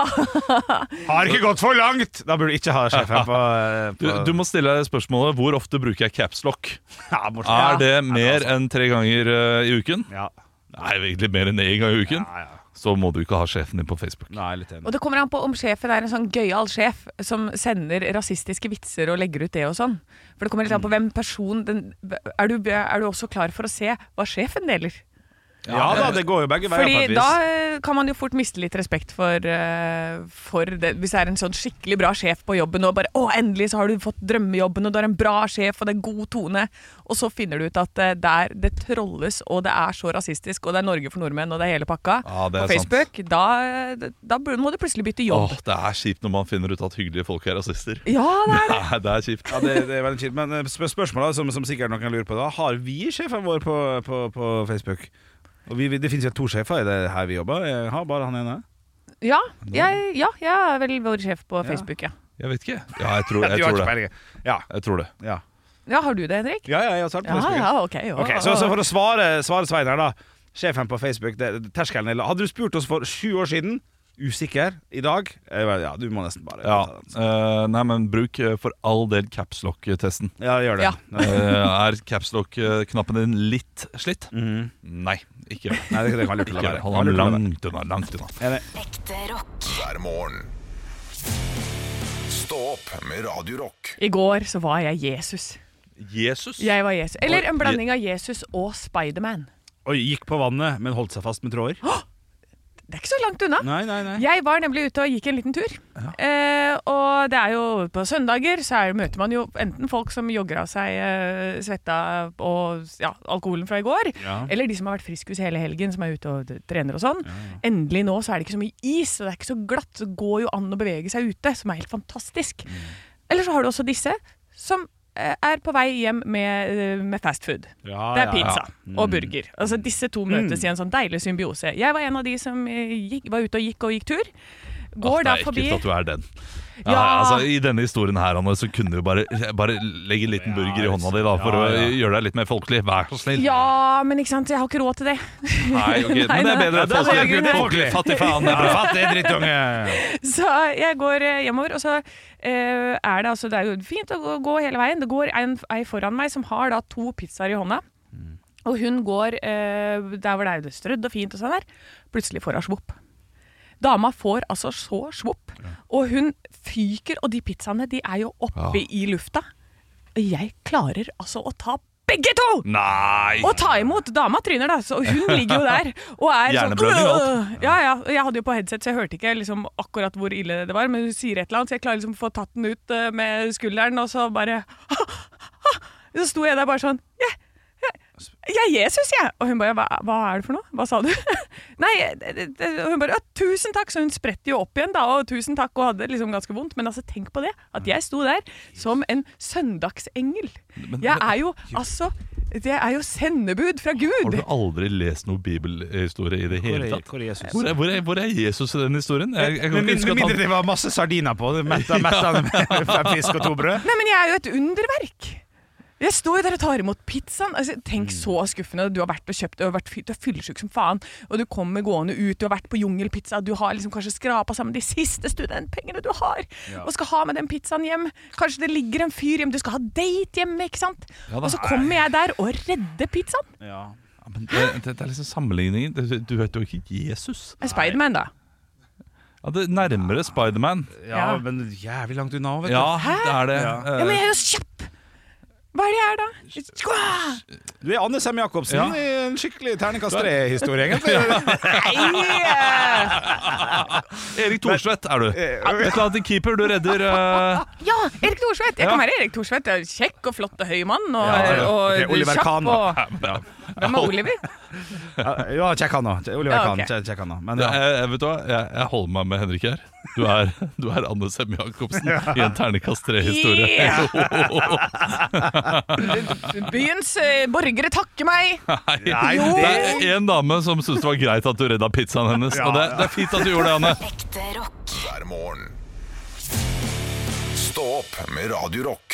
Har ikke gått for langt! Da burde du ikke ha sjefen på, eh,
Du,
på
du må stille deg spørsmålet hvor ofte bruker jeg capslock.
Ja, altså- Morten.
Er det mer enn tre ganger eh, i uken?
Ja.
Nei, egentlig mer enn én gang i uken.
Ja, ja.
Så må du ikke ha sjefen din på Facebook.
Nei, jeg er litt enig.
Og det kommer an på om sjefen er en sånn gøyal sjef som sender rasistiske vitser og legger ut det og sånn. For det kommer helt an på hvem person den, er, du, er du også klar for å se hva sjefen deler?
Ja da, det går jo begge veier på et
Fordi
vis.
da eh, kan man jo fort miste litt respekt for, eh, for det. Hvis det er en sånn skikkelig bra sjef på jobben, og bare 'Å, endelig så har du fått drømmejobben', og du er en bra sjef, og det er god tone, og så finner du ut at eh, det, er, det trolles, og det er så rasistisk, og det er Norge for nordmenn, og det er hele pakka
Ja, det er
på Facebook, da, eh, da bur- må du plutselig bytte jobb.
Åh, det er kjipt når man finner ut at hyggelige folk er rasister.
Ja, det er det.
Nei, det er kjipt.
Ja, det, det er veldig kjipt. Men eh, spør spørsmålet som, som sikkert noen lurer på, da har vi sjefen vår på, på, på Facebook? Og vi, vi- det finnes jo to sjefer i det her vi jobber. Jeg har bare han ene. [laughs]
Ja, jeg, ja, jeg er vel vår sjef på Facebook, ja.
Jeg vet ikke. Ja, jeg tror, jeg
[laughs] Du har ikke
tror det.
peiling. Ja,
Jeg tror det.
ja.
Ja, har du det, Henrik?
ja, ja, jeg har svart på
Ja,
Facebook.
ja, ok. Ja.
Ok, så, så for å svare, svare Svein her, da. Sjefen på Facebook, det, terskelen er la- Hadde du spurt oss for sju år siden, usikker, i dag eh, Ja, du må nesten bare
Ja, eh, nei, men bruk eh, for all del capslock-testen.
ja gjør det.
Ja.
[laughs] Nei,
er capslock-knappen din litt slitt? Nei, ikke gjør det.
Nei, det, det kan lurt å Mhm. la
Ikke gjør
være.
det.
Kan lurt
Hold ham
å la være.
langt unna. langt unna
Ekte rock.
hver morgen. Stå opp med Radio Rock.
I går så var jeg Jesus.
Jesus?
Jeg var Jesus. Eller en
Oi.
blanding av Jesus og Spiderman.
Oi, gikk på vannet, men holdt seg fast med tråder.
Det er ikke så langt unna.
Nei, nei, nei.
Jeg var nemlig ute og gikk en liten tur. Eh, og det er jo på søndager så er, møter man jo enten folk som jogger av seg eh, svetta og ja, alkoholen fra i går,
Ja.
eller de som har vært friskus hele helgen, som er ute og d- trener og sånn. Endelig nå så er det ikke så mye is, og det er ikke så glatt, så det går jo an å bevege seg ute, som er helt fantastisk.
Mm.
Eller så har du også disse som eh, er på vei hjem med, eh, med fast food.
Ja, ja,
Det er
ja.
pizza og burger. Altså Disse to møtes i en sånn deilig symbiose. Jeg var en av de som eh, gikk, var ute og gikk og gikk tur. Går
Åh,
da
Det er
forbi
ekkelt at du er den. Ja,
Ja.
Altså, I denne historien her, Anne, så kunne du bare, bare legge en liten burger i hånda di da, for
Ja, ja.
å gjøre deg litt mer folkelig. Vær så snill.
Ja, men ikke sant, jeg har ikke råd til det.
Nei, ok, men det er
nei.
bedre.
det er
folkelig.
det jeg kunne.
Folkelig, Fattig faen. Det er
Er du
bra.
[laughs] fattig, drittunge?
[laughs] Så jeg går eh, hjemover, og så eh, er det altså Det er jo fint å gå- gå hele veien. Det går en, ei foran meg som har da to pizzaer i hånda. Og hun går eh, der hvor det er strødd og fint og sånn der. Plutselig får hun svopp. Dama får altså så svopp, og hun fyker, og de pizzaene de er jo oppe i lufta. Og jeg klarer altså å ta begge to!
Nei!
Og ta imot. Dama tryner, da, så hun ligger
[laughs]
jo der og er sånn
Hjerneblødning og
«Åh!» Ja, ja. og Jeg hadde jo på headset, så jeg hørte ikke liksom, akkurat hvor ille det var, men hun sier et eller annet, så jeg klarer liksom å få tatt den ut eh, med skulderen, og så bare [laughs] Så sto jeg der bare sånn «Jeg- jeg jeg er Jesus, jeg! Og hun bare hva, 'Hva er det for noe? Hva sa du?' [laughs] Nei, det, det, det, og hun bare «Ja, 'Tusen takk!' Så hun spretter jo opp igjen, da, og tusen takk, og hadde liksom ganske vondt. Men altså, tenk på det, at jeg sto der som en søndagsengel. Jeg er jo altså Jeg er jo sendebud fra
Har
Gud!
du aldri lest noe bibelhistorie i det
Hvor
hele
er-
tatt?
hvor er Jesus?
Hvor er, hvor er, hvor er Jesus i den historien? Jeg, jeg kan
Med
ikke huske
mindre,
at
mindre
han-
det var masse sardiner på. det Metta, metta med fem fisk og to brød.
Nei, men jeg er jo et underverk. Jeg står jo der og tar imot pizzaen. Altså, tenk
Mm.
så skuffende. Du har vært og kjøpt, du har vært fy- du er fyllesyk som faen, og du kommer gående ut, du har vært på jungelpizza, du har liksom kanskje skrapa sammen de siste studentpengene du har,
Ja.
og skal ha med den pizzaen hjem. Kanskje det ligger en fyr hjemme, du skal ha date hjemme, ikke sant?
Ja, da.
og så kommer jeg der og redder pizzaen.
Ja, men det, det, det er liksom sammenligningen. Du, du vet jo ikke Jesus.
En Spiderman, da.
Ja, det er Nærmere Spiderman.
Ja, Ja.
men jævlig langt unna.
vet du.
Ja,
Hæ?
det er det. Eh,
Ja.
Ja, men jeg er jo kjapp! Hva er det jeg er, da? Skål!
Du er Anne Sem Jacobsen
Ja.
i en skikkelig terningkast tre-historie, egentlig.
[laughs] Erik Thorstvedt er du.
Eh,
Et eller annet i keeper du redder eh,
Ja, Erik Thorsvedt! Jeg
Ja.
kan være Erik Thorsvedt. Jeg er Kjekk og flott og høy mann. Og,
Ja, ja.
og
Ok, Oliver
kjapp
Kahn, da.
og
[laughs] Ja.
Hvem er Oliver?
Ja, kjekk han òg. Oliver
Ja,
Kahn.
ok.
kjekk- Kjekk han òg. Men
Det
ja.
er- jeg, vet du hva? Jeg, jeg holder meg med Henrik her. Du er, [laughs] du er Anne Sem Jacobsen i en terningkast tre-historie. [laughs]
Byens eh, borgere takker meg!
Nei,
Jo.
det er en dame som syntes det var greit at du redda pizzaen hennes.
Ja.
Og det, det er fint at du gjorde det, Anne.
Hver morgen. Stå opp med Radio Rock.